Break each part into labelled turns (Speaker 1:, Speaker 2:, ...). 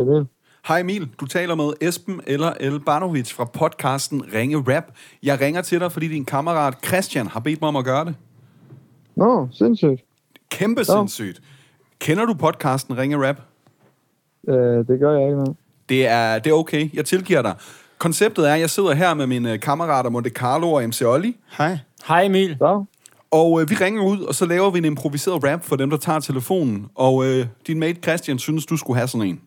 Speaker 1: Emil.
Speaker 2: Hej Emil, du taler med Esben eller El Barnovic fra podcasten Ringe Rap. Jeg ringer til dig, fordi din kammerat Christian har bedt mig om at gøre det.
Speaker 1: Nå, sindssygt.
Speaker 2: Kæmpe ja. sindssygt. Kender du podcasten Ringe Rap?
Speaker 1: Øh, det gør jeg ikke, mand.
Speaker 2: Det er, det er okay, jeg tilgiver dig. Konceptet er, at jeg sidder her med mine kammerater Monte Carlo og MC Olli,
Speaker 3: Hej.
Speaker 4: Hej Emil.
Speaker 1: Så,
Speaker 2: og øh, vi ringer ud, og så laver vi en improviseret rap for dem, der tager telefonen. Og øh, din mate Christian synes, du skulle have sådan en.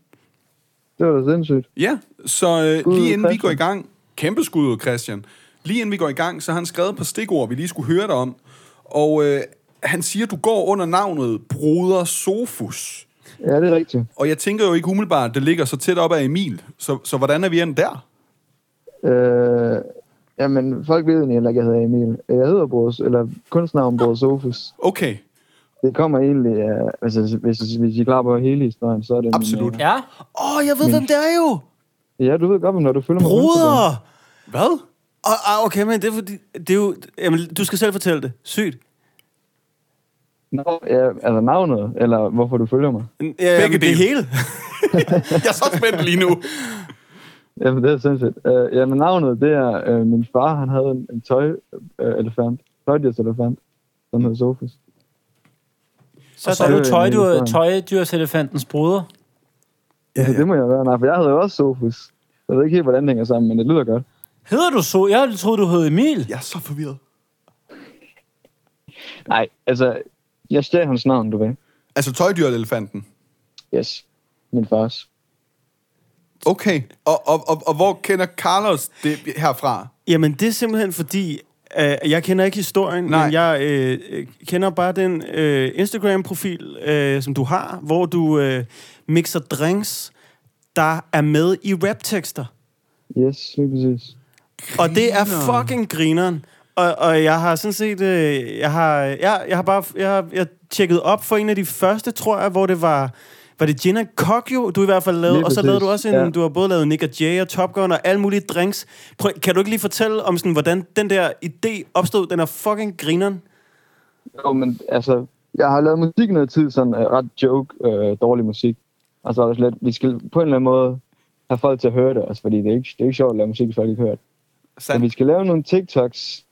Speaker 1: det var da sindssygt.
Speaker 2: Ja, så øh, lige inden vi
Speaker 1: Christian.
Speaker 2: går i gang, kæmpe skud ud, Christian. Lige inden vi går i gang, så har han skrevet et par stikord, vi lige skulle høre dig om. Og øh, han siger, du går under navnet Broder Sofus.
Speaker 1: Ja, det er rigtigt.
Speaker 2: Og jeg tænker jo ikke umiddelbart, at det ligger så tæt op af Emil. Så, så hvordan er vi endt der?
Speaker 1: Øh, jamen, folk ved egentlig heller ikke, jeg hedder Emil. Jeg hedder Brors, eller kunstnavn Brors Sofus.
Speaker 2: Okay, det
Speaker 1: Det kommer egentlig af, altså, hvis, hvis I er klar på hele historien, så er det... min,
Speaker 2: absolut.
Speaker 1: øh,
Speaker 4: Ja,
Speaker 3: Åh, oh, jeg ved, hvem det er jo.
Speaker 1: ja, du ved godt, når du følger mig... på Instagram.
Speaker 3: Bruder!
Speaker 2: Hvad?
Speaker 3: Og, ah, okay, men det er fordi, det er jo, jamen, du skal selv fortælle det. Sygt.
Speaker 1: Nå, ja, altså navnet, eller hvorfor du følger mig.
Speaker 3: Ja, jamen, det
Speaker 2: dele.
Speaker 3: er hele.
Speaker 2: Jeg er så spændt lige nu.
Speaker 1: Jamen, det er sindssygt. Øh, jamen, navnet, det er... Øh, min far, han havde en, øh, en tøj-elefant. Tøjdyrselefant, som hed Sofus.
Speaker 4: så, så
Speaker 1: er
Speaker 4: er
Speaker 1: det
Speaker 4: du
Speaker 1: jo
Speaker 4: tøjdyr,
Speaker 1: Emil, så-
Speaker 4: tøjdyrselefantens broder.
Speaker 1: Ja, ja. Det må jeg være. Nej, for jeg hedder jo også Sofus. Jeg ved ikke helt, hvordan det hænger sammen, men det lyder godt.
Speaker 4: Hedder du så? Jeg troede, du hed Emil.
Speaker 2: Jeg er så forvirret.
Speaker 1: Nej, altså, jeg stjal hans navn, du ved.
Speaker 2: Altså tøjdyrelefanten.
Speaker 1: Yes. Min fars.
Speaker 2: Okay, og, og, og, og hvor kender Carlos det herfra?
Speaker 3: Jamen, det er simpelthen fordi, øh, jeg kender ikke historien,
Speaker 2: Nej.
Speaker 3: Nej. men jeg øh, øh, kender bare den øh, Instagram-profil, øh, som du har, hvor du øh, mixer drinks, der er med i raptekster.
Speaker 1: Yes, lige præcis.
Speaker 3: Og det er fucking grineren. Og, og jeg har sådan set, øh, jeg har, jeg, jeg har bare, jeg, har, jeg tjekket op for en af de første, tror jeg, hvor det var, var det Gin and Kokyo, du i hvert fald lavede,
Speaker 1: Lige
Speaker 3: og så
Speaker 1: præcis,
Speaker 3: lavede du også en,
Speaker 1: ja.
Speaker 3: ja. du har både lavet Nick og Jay og Top Gun og alle mulige drinks. Prøv, kan du ikke lige fortælle om sådan, hvordan den der idé opstod, den er fucking grineren?
Speaker 1: Jo, men altså, jeg har lavet musik noget tid, sådan uh, ret joke, uh, dårlig musik. Og så er det slet, vi skal på en eller anden måde have folk til at høre det, altså, fordi det er, ikke, det er ikke sjovt at lave musik, hvis folk ikke hører det. Så vi skal lave nogle TikToks,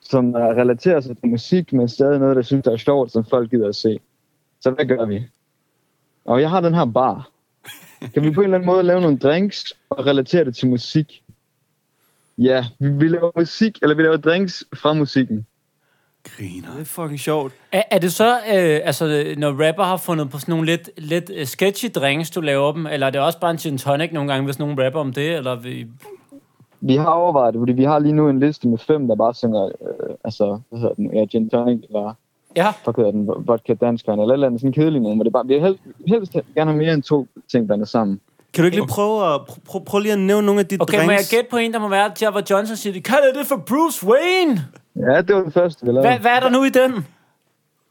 Speaker 1: som uh, relaterer sig til musik, men stadig noget, der synes, der er sjovt, som folk gider at se. Så hvad gør vi? Og jeg har den her bar. Kan vi på en eller anden måde lave nogle drinks og relatere det til musik? Ja, vi, vi laver musik, eller vi laver drinks fra musikken.
Speaker 2: Griner.
Speaker 3: Det er fucking sjovt.
Speaker 4: Er, er det så, øh, altså, når rapper har fundet på sådan nogle lidt, lidt øh, sketchy drinks, du laver dem, eller er det også bare en gin tonic nogle gange, hvis nogen rapper om det, eller vi...
Speaker 1: Vi har overvejet det, fordi vi har lige nu en liste med fem, der bare synger, øh, altså, hvad hedder den, ja, gin tonic, eller
Speaker 4: Ja,
Speaker 1: fuck hedder den, vodka danskeren, eller et eller andet sådan kedelig nogen, hvor det bare, vi vil helst, helst gerne have mere end to ting blandet sammen.
Speaker 3: Kan du ikke lige prøve at, pr- pr- prøv lige at nævne nogle af de
Speaker 4: okay,
Speaker 3: drinks?
Speaker 4: må jeg gætte på en, der må være, at Java Johnson siger, kan det det for Bruce Wayne?
Speaker 1: Ja, det var den første, vi lavede.
Speaker 4: Hva, hvad er der nu i den?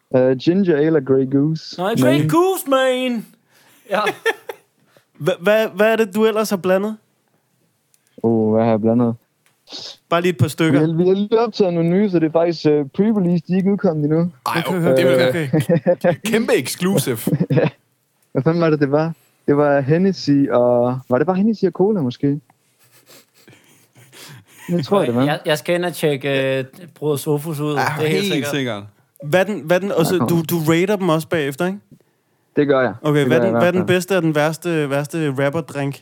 Speaker 1: Uh, ginger ale og Grey Goose.
Speaker 4: Nå, jeg Grey Goose, man! Ja.
Speaker 3: Hva- hva- Hvad er det, du ellers har blandet?
Speaker 1: Åh, oh, hvad har jeg blandet?
Speaker 3: Bare lige et par
Speaker 1: Vi
Speaker 3: stykker.
Speaker 1: har, vi har lige optaget nogle nye, så det er faktisk uh, pre-release. De er ikke udkommet endnu.
Speaker 2: Ej, okay, det vil være
Speaker 3: Øh, okay.
Speaker 2: kæmpe exclusive.
Speaker 1: Hvad fanden var det, det var? Det var Hennessy og... Var det bare Hennessy og Cola, måske? Det tror jeg, det var.
Speaker 4: Jeg, jeg skal ind og tjekke øh, Brød Sofus ud.
Speaker 2: Ja,
Speaker 4: det er helt, sikkert.
Speaker 2: sikkert.
Speaker 3: Hvad den, hvad den, og så, du, du rater dem også bagefter, ikke?
Speaker 1: Det gør jeg.
Speaker 3: Okay,
Speaker 1: det
Speaker 3: hvad
Speaker 1: gør
Speaker 3: er,
Speaker 1: jeg i
Speaker 3: den, hvad er
Speaker 1: hvert
Speaker 3: den
Speaker 1: fald.
Speaker 3: bedste og den værste, værste rapper-drink?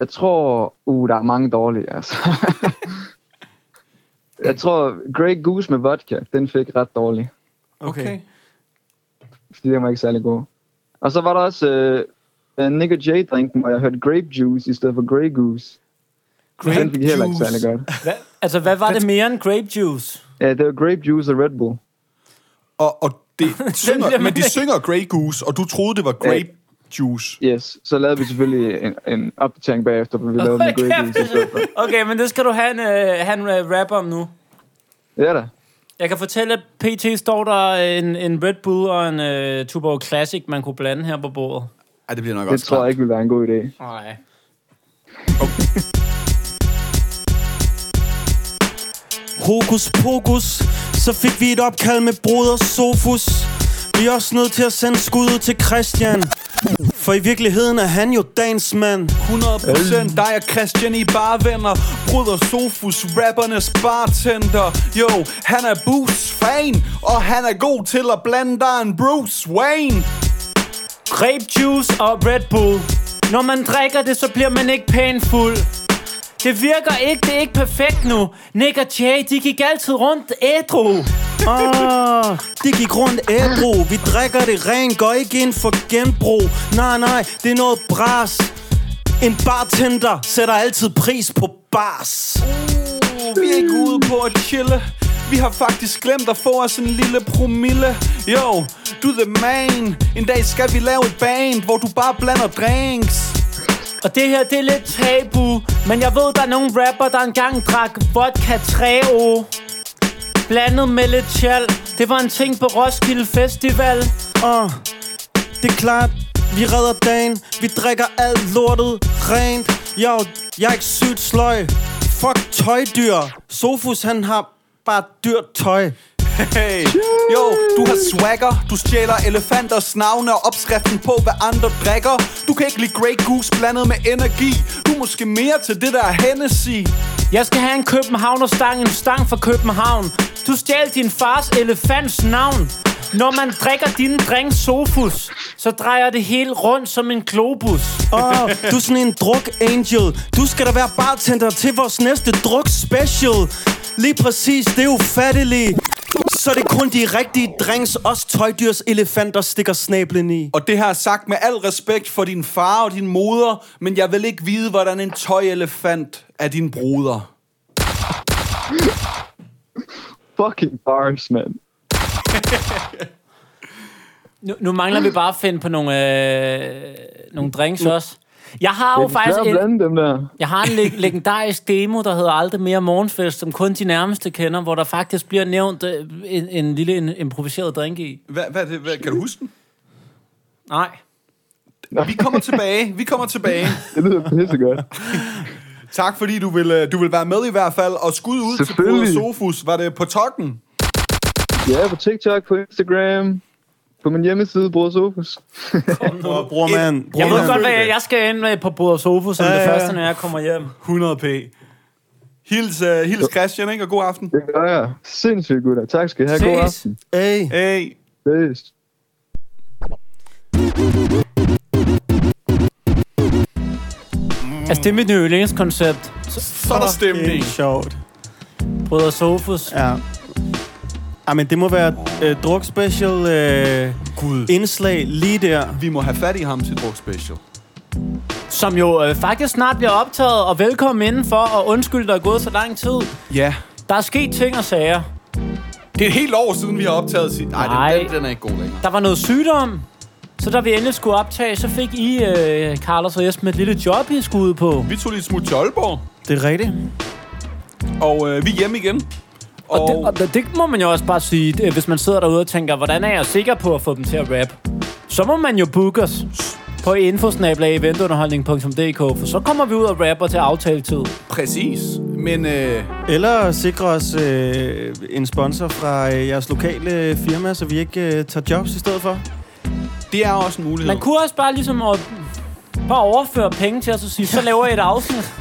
Speaker 1: Jeg tror... Uh, der er mange dårlige, altså. jeg tror, Grey Goose med vodka, den fik ret dårlig.
Speaker 2: Okay.
Speaker 1: Fordi den var ikke særlig god. Og så var der også... Uh, Nick og Jay-drinken, hvor jeg hørte grape juice i stedet for Grey Goose.
Speaker 2: Grape
Speaker 1: den fik heller ikke
Speaker 2: juice.
Speaker 1: særlig godt.
Speaker 4: Altså, hvad var det mere end grape juice?
Speaker 1: Ja, det var grape juice og Red Bull.
Speaker 2: Og, og det synger,
Speaker 4: bliver
Speaker 2: men
Speaker 4: man
Speaker 2: de
Speaker 4: ikke.
Speaker 2: synger Grey Goose, og du troede, det var grape juice.
Speaker 1: Yes, så lavede vi selvfølgelig en, en opdatering bagefter, hvor vi lavede den grape juice i stedet for.
Speaker 4: Okay, men det skal du have en, øh, have en øh, rap om nu.
Speaker 1: Ja da.
Speaker 4: Jeg kan fortælle, at PT står der en, en Red Bull og en uh, Tuborg Classic, man kunne blande her på bordet.
Speaker 2: Ej, det bliver nok
Speaker 1: Det
Speaker 2: også
Speaker 1: tror jeg ikke ville være en god idé.
Speaker 4: Nej.
Speaker 3: Hokus pokus, så fik vi et opkald med broder Sofus. Vi er også nødt til at sende skud ud til Christian. For i virkeligheden er han jo dagens mand.
Speaker 2: 100% dig og Christian I bare venner Bryder Sofus, rappernes bartender Jo, han er Bruce fan Og han er god til at blande dig en Bruce Wayne
Speaker 4: Grape juice og Red Bull. Når man drikker det, så bliver man ikke pænt fuld. Det virker ikke, det er ikke perfekt nu. Nick og Jay, de gik altid rundt ædru.
Speaker 3: Åh, oh, det gik rundt ædru. Vi drikker det rent, går ikke ind for genbrug. Nej, nej, det er noget bras. En bartender sætter altid pris på bars.
Speaker 2: Uh, Vi er ikke ude på at chille vi har faktisk glemt at få os en lille promille Yo, du the man En dag skal vi lave et band Hvor du bare blander drinks
Speaker 4: Og det her, det er lidt tabu Men jeg ved, der er nogle rapper, der engang drak vodka 3O Blandet med lidt chal Det var en ting på Roskilde Festival
Speaker 3: Åh, oh, det er klart vi redder dagen, vi drikker alt lortet rent Yo, jeg er ikke sygt sløj Fuck tøjdyr Sofus han har bare dyrt tøj.
Speaker 2: Hey. Jo, du har swagger Du stjæler elefanters navne og opskriften på, hvad andre drikker Du kan ikke lide Grey Goose blandet med energi Du er måske mere til det der Hennessy
Speaker 4: Jeg skal have en københavnerstang, en stang fra København Du stjal din fars elefants navn Når man drikker dine drinks sofus Så drejer det hele rundt som en globus
Speaker 3: Åh, oh, du er sådan en druk angel Du skal da være bartender til vores næste druk special Lige præcis, det er ufatteligt så det er kun de rigtige drinks, os tøjdyrs elefanter stikker snablen i.
Speaker 2: Og det her er sagt med al respekt for din far og din moder, men jeg vil ikke vide, hvordan en tøjelefant er din bruder.
Speaker 1: Fucking bars, man.
Speaker 4: Nu, nu mangler vi bare at finde på nogle, øh, nogle drinks også. Jeg har jo
Speaker 1: Det er
Speaker 4: faktisk
Speaker 1: svært at
Speaker 4: en,
Speaker 1: blande dem der.
Speaker 4: jeg har en leg- legendarisk demo, der hedder Aldrig mere morgenfest, som kun de nærmeste kender, hvor der faktisk bliver nævnt øh, en, en lille en, improviseret drink i.
Speaker 2: Hvad, hvad, er det, hvad, kan du huske den?
Speaker 4: Nej.
Speaker 2: Vi kommer tilbage, vi kommer tilbage
Speaker 1: Det lyder pissegodt.
Speaker 2: Tak fordi du vil, øh, du vil være med i hvert fald Og skud ud til Bruder
Speaker 1: Selvfølgelig.
Speaker 2: Sofus Var det på tokken?
Speaker 1: Ja, på TikTok, på Instagram, på min hjemmeside, Bror Sofus.
Speaker 3: Åh, bror mand. Bror
Speaker 4: Jeg ved
Speaker 3: mand.
Speaker 4: godt, hvad jeg, jeg skal ind med på Bruder Sofo, som
Speaker 3: Ja,
Speaker 4: ja, det
Speaker 3: ja.
Speaker 4: første, når jeg kommer hjem.
Speaker 3: 100 p.
Speaker 2: Hils, uh, hils Christian, ikke? Og god aften
Speaker 1: Det gør jeg. Sindssygt, gutter. Tak skal I have. God
Speaker 4: Ses.
Speaker 1: aften.
Speaker 3: Hey.
Speaker 2: Hey
Speaker 1: Ses.
Speaker 4: Altså, det er mit nye yndlingskoncept.
Speaker 2: Så er der stemning
Speaker 3: Det er sjovt.
Speaker 4: Brødre Sofus. Ja.
Speaker 3: Ja. Ej, men det må være øh, drukspecial øh,
Speaker 2: Gud
Speaker 3: indslag lige der.
Speaker 2: Vi må have fat i ham til druk special
Speaker 4: Som jo øh, faktisk snart bliver optaget, og velkommen indenfor, og undskyld, der er gået så lang tid.
Speaker 2: Ja
Speaker 4: Der er sket ting og sager.
Speaker 2: Det er et helt år siden, vi har optaget sit... Nej,
Speaker 4: Nej.
Speaker 2: den, den, den er ikke god længere.
Speaker 4: Der var noget sygdom, så da vi endelig skulle optage, så fik I, øh, Carlos og Jesper, et lille job, I skulle ud på.
Speaker 2: Vi tog lige et smut til Aalborg,
Speaker 3: Det er rigtigt.
Speaker 2: og øh, vi er hjemme igen. Og,
Speaker 4: Og, det, og det- det må man jo også bare sige, det- hvis man sidder derude og tænker, hvordan er jeg sikker på at få dem til at rap? Så må man jo booke os på infosnabla.eventunderholdning.dk, for så kommer vi ud og rapper til aftaletid.
Speaker 2: præcis. Men øh,
Speaker 3: Eller sikre os øh, en sponsor fra øh, jeres lokale firma, så vi ikke øh, tager jobs i stedet for.
Speaker 2: det er også en mulighed.
Speaker 4: Man kunne også bare ligesom at, bare overføre penge til os og sige, så laver jeg et afsnit.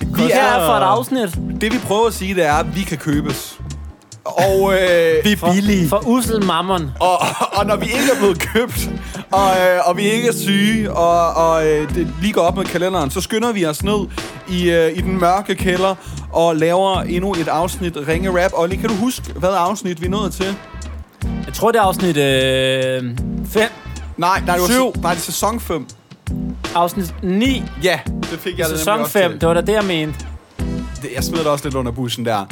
Speaker 4: Vi er for et afsnit.
Speaker 2: Det vi prøver at sige, det er, at vi kan købes. Og, øh,
Speaker 3: Vi er billige.
Speaker 4: For usel mammon.
Speaker 2: og, og når vi ikke er blevet købt, og, øh, og vi ikke er syge, og, og øh, det lige går op med kalenderen, så skynder vi os ned i, øh, i den mørke kælder og laver endnu et afsnit Ringe Rap. Og kan du huske, hvad afsnit vi nåede til?
Speaker 4: Jeg tror, det er afsnit 5. Øh,
Speaker 2: Nej, nej, det var,
Speaker 4: Syv.
Speaker 2: se- nej, det er sæson 5.
Speaker 4: afsnit 9.
Speaker 2: Ja, det fik jeg nemlig
Speaker 4: Sæson
Speaker 2: også til.
Speaker 4: 5. Det var da det, jeg mente.
Speaker 2: Det- Jeg smed det også lidt under bussen der.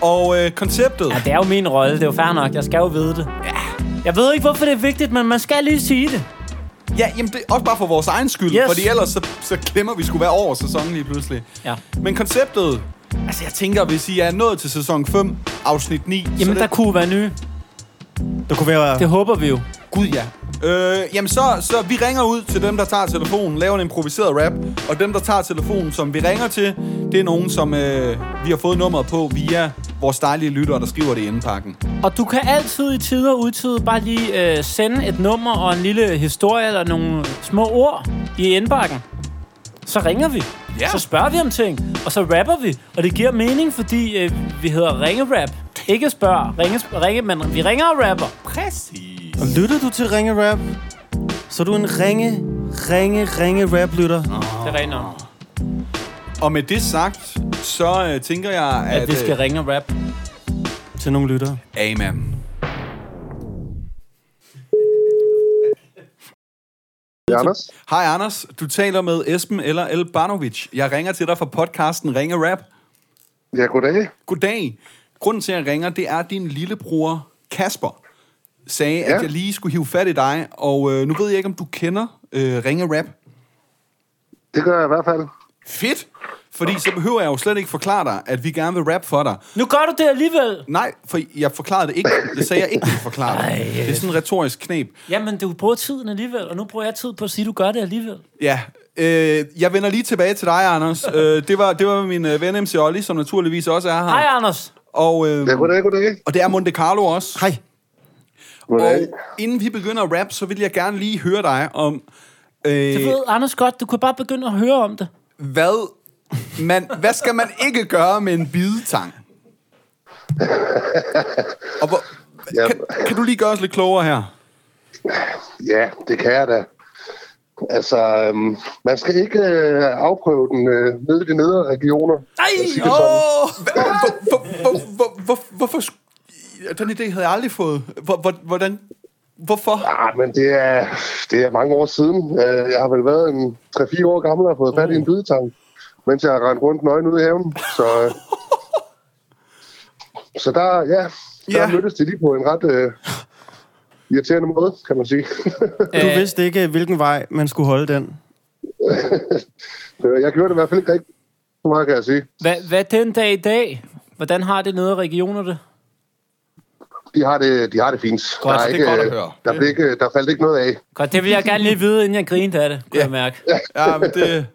Speaker 2: Og øh, konceptet...
Speaker 4: Ja, det er jo min rolle. Det er jo fair nok. Jeg skal jo vide det. Ja. Jeg ved ikke, hvorfor det er vigtigt, men man skal lige sige det.
Speaker 2: Ja, jamen det er også bare for vores egen skyld,
Speaker 4: Yes.
Speaker 2: fordi ellers så, så klemmer vi skulle være over sæsonen lige pludselig.
Speaker 4: Ja.
Speaker 2: Men konceptet... Altså, jeg tænker, hvis I er nået til sæson 5, afsnit 9... så
Speaker 4: Jamen,
Speaker 2: det,
Speaker 4: der kunne være nye.
Speaker 3: Der kunne være...
Speaker 4: Det håber vi jo.
Speaker 2: Gud, ja. Øh, jamen så, så vi ringer ud til dem, der tager telefonen, laver en improviseret rap, og dem, der tager telefonen, som vi ringer til, det er nogen, som øh, vi har fået nummeret på via vores dejlige lyttere, der skriver det i indpakken.
Speaker 4: Og du kan altid i tider og utide bare lige øh, sende et nummer og en lille historie eller nogle små ord i indbakken. Så ringer vi.
Speaker 2: Ja.
Speaker 4: Så spørger vi om ting, og så rapper vi. Og det giver mening, fordi øh, vi hedder ringerap. Ikke spørg, ringe, ringe, men vi ringer og rapper.
Speaker 2: Præcis.
Speaker 3: Og lytter du til ringe rap, så er du en ringe, ringe, ringe rap lytter.
Speaker 4: Det regner om,
Speaker 2: Og med det sagt, så øh, tænker jeg, at...
Speaker 4: at vi skal ringe og rap.
Speaker 3: Til nogle lyttere.
Speaker 2: øh, Amen.
Speaker 1: Det er Anders.
Speaker 2: Hej Anders, du taler med Esben eller El Barnovic. Jeg ringer til dig fra podcasten Ringe Rap.
Speaker 5: Ja, goddag.
Speaker 2: Goddag. Grunden til, at jeg ringer, det er, at din lillebror Kasper sagde, ja.
Speaker 5: Ja.
Speaker 2: at jeg lige skulle hive fat i dig. Og øh, nu ved jeg ikke, om du kender øh, Ringe Rap.
Speaker 5: Det gør jeg i hvert fald.
Speaker 2: Fedt! Fordi så behøver jeg jo slet ikke forklare dig, at vi gerne vil rap for dig.
Speaker 4: Nu gør du det alligevel.
Speaker 2: Nej, for jeg forklarede det ikke. Det sagde jeg ikke, ville forklare dig.
Speaker 4: Ej.
Speaker 2: Det er sådan en retorisk knep.
Speaker 4: Jamen, du bruger tiden alligevel, og nu bruger jeg tid på at sige, at du gør det alligevel.
Speaker 2: Ja, øh, jeg vender lige tilbage til dig, Anders. øh, det, var, det var min øh, ven MC Olli, som naturligvis også er her.
Speaker 4: Hej, Anders.
Speaker 2: Og, øh,
Speaker 5: Ja, goddag, goddag.
Speaker 2: og det er Monte Carlo også.
Speaker 3: Hej.
Speaker 5: Goddag.
Speaker 2: Og inden vi begynder at rap, så vil jeg gerne lige høre dig om,
Speaker 4: Du
Speaker 2: øh,
Speaker 4: ved, Anders godt, du kan bare begynde at høre om det.
Speaker 2: hvad, man, hvad skal man ikke gøre med en bidetang? Og hvor,
Speaker 5: Ja.
Speaker 2: kan, kan du lige gøre os lidt klogere her?
Speaker 5: Ja, det kan jeg da. Altså, øhm, man skal ikke øh, afprøve den øh, nede i de nedre regioner.
Speaker 4: Nej,
Speaker 5: Jeg siger det sådan.
Speaker 2: Oh, hvor, hvor, hvor, hvor, hvor, hvorfor... sk- Den idé havde jeg aldrig fået. Hvor, hvor, hvordan... Hvorfor?
Speaker 5: Ah, men det er, det er mange år siden. Øh, Jeg har vel været en 3-4 år gammel og har fået fat i en bydetang, mens jeg har rendt rundt nøgen ude i haven. Så, øh, så der, ja, der
Speaker 2: Ja.
Speaker 5: yeah. mødtes de lige på en ret øh, irriterende måde, kan man sige.
Speaker 4: Øh,
Speaker 3: Du vidste ikke, hvilken vej man skulle holde den.
Speaker 5: Øh, jeg gjorde det i hvert fald ikke rigtig så meget, kan jeg sige.
Speaker 4: Hvad, hvad den dag i dag? Hvordan har det nede i regionerne det?
Speaker 5: De har det, de har det fint.
Speaker 4: Godt,
Speaker 5: der,
Speaker 2: det er godt at
Speaker 5: øh,
Speaker 2: høre.
Speaker 5: Der, blev ikke, der faldt ikke noget af.
Speaker 4: Godt, det vil jeg gerne lige vide, inden jeg grinte af det, kunne
Speaker 2: Ja.
Speaker 4: ja. jeg mærke.
Speaker 2: Ja, men det...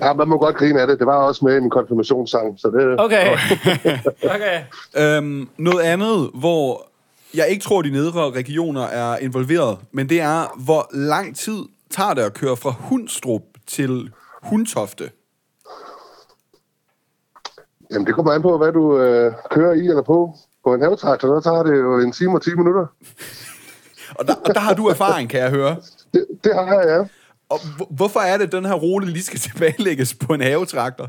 Speaker 5: Ja, man må godt grine af det. Det var også med i en konfirmationssang, så det...
Speaker 4: Okay. okay.
Speaker 2: Øhm, noget andet, hvor jeg ikke tror, de nedre regioner er involveret, men det er, hvor lang tid tager det at køre fra Hundstrup til Hundtofte?
Speaker 5: Jamen, det kommer an på, hvad du øh, kører i eller på. På en havetraktor, der tager det jo en time og 10 minutter.
Speaker 2: Og der, og der har du erfaring, kan jeg høre.
Speaker 5: Det, det har jeg, ja.
Speaker 2: Og hvor- hvorfor er det, at den her rute lige skal tilbagelægges på en havetraktor?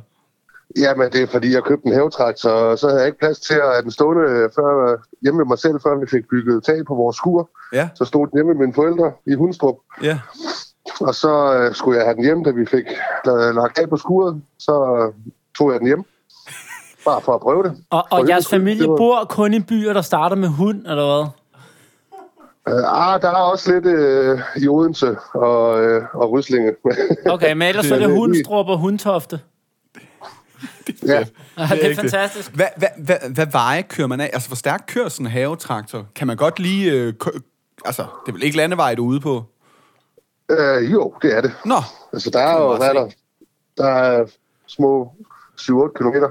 Speaker 5: Jamen, det er fordi, jeg købte en havetraktor, og så havde jeg ikke plads til at have den stående øh, før, hjemme ved mig selv, før vi fik bygget tag på vores skur.
Speaker 2: Ja,
Speaker 5: Så stod den hjemme med mine forældre i Hundstrup,
Speaker 2: ja.
Speaker 5: og så øh, skulle jeg have den hjem, da vi fik la- lagt af på skuret. Så øh, tog jeg den hjem, bare for at prøve det.
Speaker 4: Og,
Speaker 5: For
Speaker 4: og jeres
Speaker 5: hyggens skyld.
Speaker 4: familie
Speaker 5: Det var-
Speaker 4: bor kun i byer, der starter med hund, eller hvad?
Speaker 5: Øh, ah, der er også lidt øh, i Odense og, øh, og Ryslinge.
Speaker 4: Okay, men ellers så er det hundstrup og hundtofte.
Speaker 5: ja.
Speaker 4: Ja, det er
Speaker 2: ægte.
Speaker 4: fantastisk.
Speaker 2: Hvad, hvad, hvad, hvad veje kører man af? Altså, hvor stærkt kører sådan en havetraktor? Kan man godt lige... Øh, kø- altså, det er vel ikke landevej, du er ude på?
Speaker 5: øh, jo, det er det.
Speaker 2: Nå,
Speaker 5: Altså, der er jo,
Speaker 2: Det
Speaker 5: hvad
Speaker 2: kan
Speaker 5: er
Speaker 2: man
Speaker 5: der? Der er små 7-8 kilometer.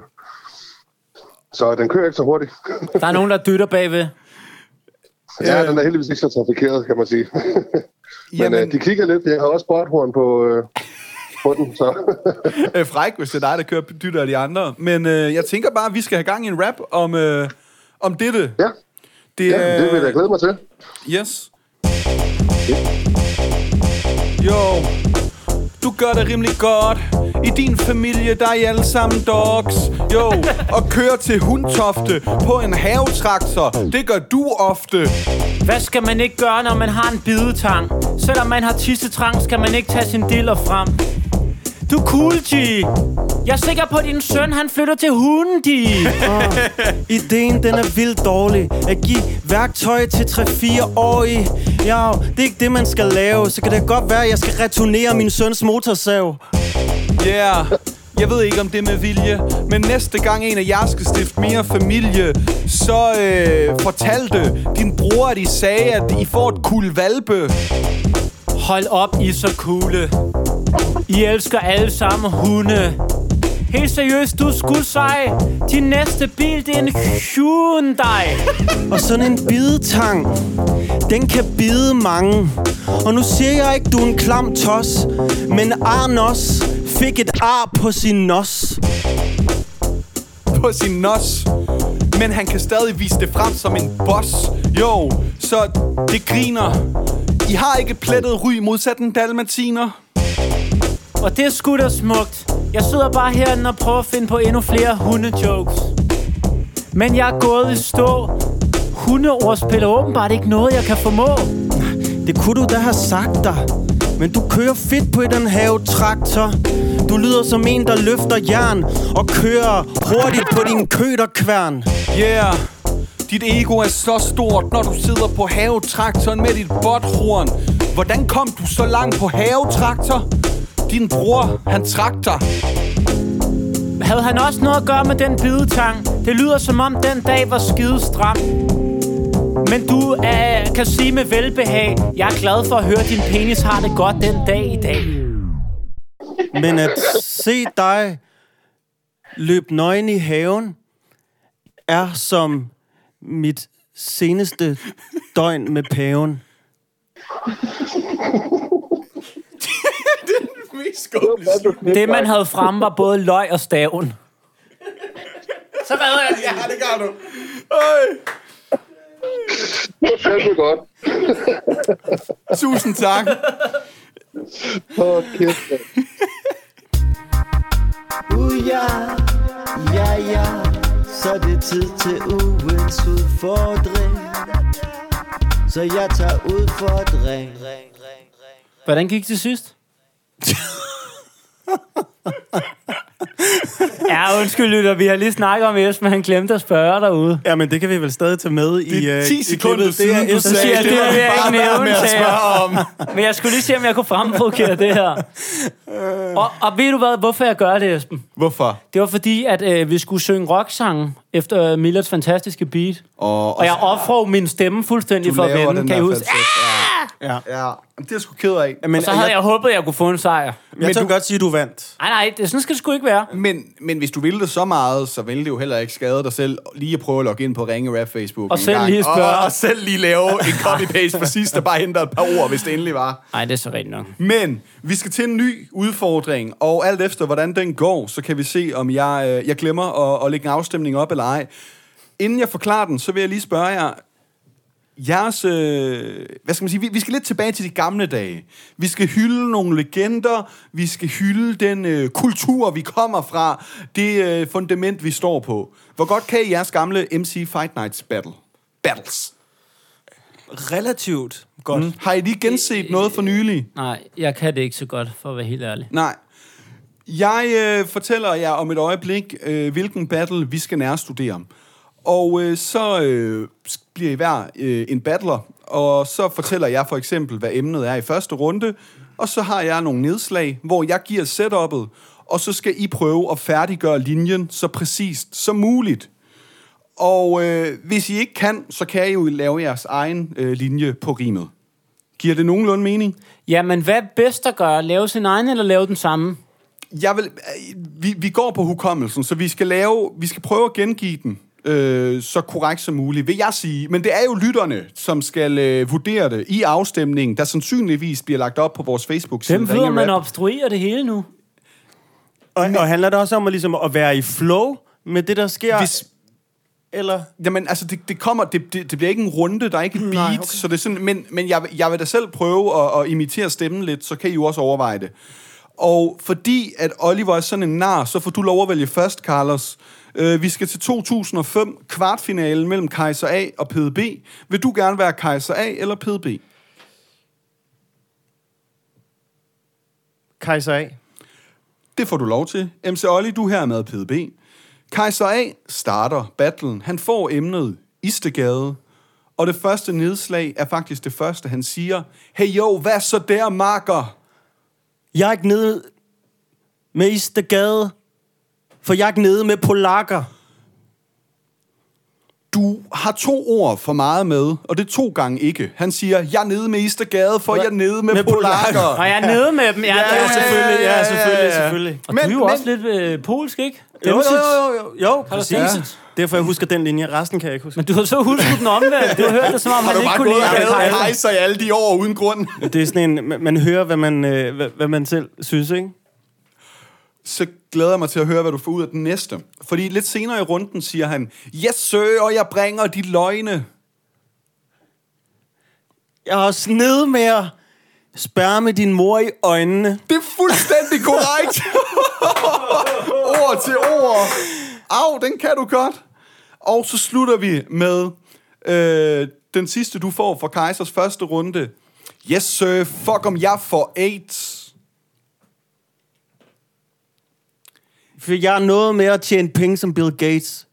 Speaker 5: Så den kører ikke så hurtigt.
Speaker 4: Der er nogen, der dytter bagved.
Speaker 5: ja, den er heldigvis ikke så trafikeret, kan man sige. Men
Speaker 2: jamen,
Speaker 5: øh, de kigger lidt. Jeg har også spothorn på, øh, på den, så...
Speaker 2: øh, fræk, hvis det er dig, der kører dytter af de andre. Men øh, jeg tænker bare, at vi skal have gang i en rap om, øh, om dette.
Speaker 5: ja,
Speaker 2: Det,
Speaker 5: ja, det vil jeg glæde mig til.
Speaker 2: Yes. Jo, du gør det rimelig godt. I din familie, der er I alle sammen dogs. Jo, og kører til hundtofte på en havetraktor. Det gør du ofte.
Speaker 4: Hvad skal man ikke gøre, når man har en bidetang? Selvom man har tissetrang, skal man ikke tage sin diller frem. Du er cool, G. Jeg er sikker på, at din søn, han flytter til hunden, G.
Speaker 3: Ideen, den er vildt dårlig. At give værktøj til 3-4-årige. Ja, det er ikke det, man skal lave. Så kan det godt være, at jeg skal returnere min søns motorsav.
Speaker 2: Yeah. Jeg ved ikke, om det er med vilje, men næste gang en af jer skal stifte mere familie, så øh, fortalte din bror, at I sagde, at I får et kul valpe.
Speaker 4: Hold op, I er så coole. I elsker alle sammen hunde. Helt seriøst, du skulle sej. Din næste bil, det er en Hyundai.
Speaker 3: Og sådan en bidetang, den kan bide mange. Og nu siger jeg ikke, du er en klam tos, men Arnos fik et ar på sin nos.
Speaker 2: på sin nos. Men han kan stadig vise det frem som en boss. Jo, så det griner. I har ikke et plettet ry modsat en dalmatiner.
Speaker 4: Og det er sgu da smukt. Jeg sidder bare herinde og prøver at finde på endnu flere hundejokes. Men jeg er gået i stå. Hundeord spiller åbenbart ikke noget, jeg kan formå.
Speaker 3: Det kunne du da have sagt dig. Men du kører fedt på den have traktor. Du lyder som en, der løfter jern og kører hurtigt på din køterkværn.
Speaker 2: Yeah. Dit ego er så stort, når du sidder på havetraktoren med dit bothorn. Hvordan kom du så langt på havetraktor? Din bror, han trakter.
Speaker 4: Havde han også noget at gøre med den bidetang? Det lyder som om den dag var skide stram. Men du øh, kan sige med velbehag, jeg er glad for at høre, at din penis har det godt den dag i dag.
Speaker 3: Men at se dig løbe nøgen i haven, er som mit seneste døgn med paven.
Speaker 4: Det, man havde fremme, var både løg og staven. Så redder jeg den.
Speaker 2: Ja, det gør du.
Speaker 5: Det er fandme godt.
Speaker 2: Tusind tak.
Speaker 5: Åh, kæft. mand.
Speaker 6: Uja, ja, ja, så er det tid til ugens udfordring. Så jeg tager udfordring.
Speaker 4: Hvordan gik det sidst? ja, undskyld, lytter. Vi har lige snakket om Esben, han glemte at spørge derude.
Speaker 3: Ja, men det kan vi vel stadig tage med i...
Speaker 2: Det er
Speaker 3: øh,
Speaker 2: 10
Speaker 3: i
Speaker 2: sekunder
Speaker 3: klippet. Det
Speaker 2: siden,
Speaker 3: er
Speaker 2: du
Speaker 3: efter-
Speaker 2: sagde,
Speaker 4: siger, det
Speaker 2: må
Speaker 4: vil
Speaker 2: du
Speaker 4: jeg
Speaker 2: bare
Speaker 4: ikke
Speaker 2: være med
Speaker 4: nævne,
Speaker 2: at
Speaker 4: sagde jeg.
Speaker 2: spørge om.
Speaker 4: Men jeg skulle lige se, om jeg kunne fremprovokere det her.
Speaker 2: Øh.
Speaker 4: Og, og ved du hvad, hvorfor jeg gør det, Esben?
Speaker 2: Hvorfor?
Speaker 4: Det var fordi, at øh, vi skulle synge rocksange efter øh, Millards fantastiske beat.
Speaker 2: Og,
Speaker 4: Og jeg offrer min stemme fuldstændig for at vinde, kan I huske? Ah!
Speaker 2: Ja. ja. Det er jeg sgu ked af.
Speaker 3: Men,
Speaker 4: Så havde jeg håbet, at jeg kunne få en sejr.
Speaker 3: jeg, jeg tør godt sige, at du vandt.
Speaker 4: Nej, nej, det, sådan skal det sgu ikke være.
Speaker 2: Men, men hvis du ville det så meget, så ville det jo heller ikke skade dig selv lige at prøve at logge ind på Ringe Rap Facebook
Speaker 4: Og
Speaker 2: en
Speaker 4: selv
Speaker 2: gang.
Speaker 4: lige spørge.
Speaker 2: Og, og selv lige lave en copy-paste for sidst, der bare henter et par ord, hvis det endelig var.
Speaker 4: Nej, det er så rigtigt nok.
Speaker 2: Men vi skal til en ny udfordring, og alt efter hvordan den går, så kan vi se, om jeg, øh, jeg glemmer at, at lægge en afstemning op eller ej. Inden jeg forklarer den, så vil jeg lige spørge jer, jeres, øh, hvad skal man sige, vi, vi skal lidt tilbage til de gamle dage. Vi skal hylde nogle legender, vi skal hylde den øh, kultur, vi kommer fra, det øh, fundament, vi står på. Hvor godt kan I jeres gamle MC Fight Nights battle? battles?
Speaker 3: Relativt godt. Mm.
Speaker 2: Har I lige genset noget for nylig?
Speaker 4: Nej, jeg kan det ikke så godt, for at være helt ærlig.
Speaker 2: Nej. Jeg øh, fortæller jer om et øjeblik, øh, hvilken battle vi skal nærstudere. Og øh, så øh, sk- bliver I hver øh, en battler, og så fortæller jeg for eksempel, hvad emnet er i første runde, og så har jeg nogle nedslag, hvor jeg giver setup'et, og så skal I prøve at færdiggøre linjen så præcist som muligt. Og øh, hvis I ikke kan, så kan I jo lave jeres egen øh, linje på rimet. Giver det nogenlunde mening?
Speaker 4: Jamen, hvad er bedst at gøre? Lave sin egen eller lave den samme?
Speaker 2: Jeg vil, øh, vi, vi går på hukommelsen, så vi skal, lave, vi skal prøve at gengive den øh, så korrekt som muligt, vil jeg sige. Men det er jo lytterne, som skal øh, vurdere det i afstemningen, der sandsynligvis bliver lagt op på vores Facebook-side.
Speaker 4: Hvem ved,
Speaker 2: Ringe
Speaker 4: om man
Speaker 2: Rap.
Speaker 4: obstruerer det hele nu?
Speaker 3: Og, og handler det også om at, ligesom, at være i flow med det, der sker?
Speaker 2: Hvis,
Speaker 3: Eller?
Speaker 2: jamen, altså, det, det, kommer, det, det, det bliver ikke en runde, der er ikke et beat,
Speaker 3: Mm, Nej,
Speaker 2: Nej,
Speaker 3: okay.
Speaker 2: okay. så det er sådan, men, men jeg, vil- jeg vil da selv prøve at, at imitere stemmen lidt, så kan I jo også overveje det. Og fordi at Oliver er sådan en nar, så får du lov at vælge først, Carlos. Øh, vi skal til 2005 kvartfinalen mellem Kaiser A og PDB. Vil du gerne være Kaiser A eller PDB?
Speaker 3: Kaiser A.
Speaker 2: Det får du lov til. MC Olli, du er her med PDB. Kaiser A starter battlen. Han får emnet Istegade. Og det første nedslag er faktisk det første, han siger. Hey jo, hvad så der, marker?
Speaker 3: Jeg er ikke nede med Istegade. for jeg er nede med polakker.
Speaker 2: Du har to ord for meget med, og det er to gange ikke. Han siger, jeg er nede med Istergade, for jeg er nede med,
Speaker 3: Med
Speaker 2: med
Speaker 3: polakker.
Speaker 2: polakker.
Speaker 4: Og jeg er nede med dem. Ja, ja,
Speaker 3: Ja, selvfølgelig, ja, selvfølgelig, selvfølgelig.
Speaker 4: Og men, du er jo
Speaker 2: Men-
Speaker 4: også lidt øh, polsk, ikke?
Speaker 3: Jo, jo, jo, jo, jo, præcis.
Speaker 4: Ja.
Speaker 3: Derfor jeg husker den linje, resten kan jeg ikke huske.
Speaker 4: Men du har så husket den omvendt. Du har hørt det, som om
Speaker 2: Har
Speaker 4: han
Speaker 2: du
Speaker 4: ikke
Speaker 2: bare
Speaker 4: kunne
Speaker 2: gået og
Speaker 4: lide Albert
Speaker 2: hadet
Speaker 4: Heitmann.
Speaker 2: hejser i alle de år uden grund?
Speaker 3: Det er sådan en, man, man hører, hvad man, øh, hvad, hvad man selv synes, ikke?
Speaker 2: så glæder jeg mig til at høre, hvad du får ud af den næste. Fordi lidt senere i runden siger han, yes sir, og jeg bringer de løgne.
Speaker 3: Jeg har også nede med at spørge med din mor i øjnene.
Speaker 2: Det er fuldstændig korrekt. ord til ord. Au, den kan du godt. Og så slutter vi med øh, den sidste, du får fra Kejsers første runde. Yes sir, fuck om jeg får AIDS.
Speaker 3: For jeg er noget med at tjene penge som Bill Gates.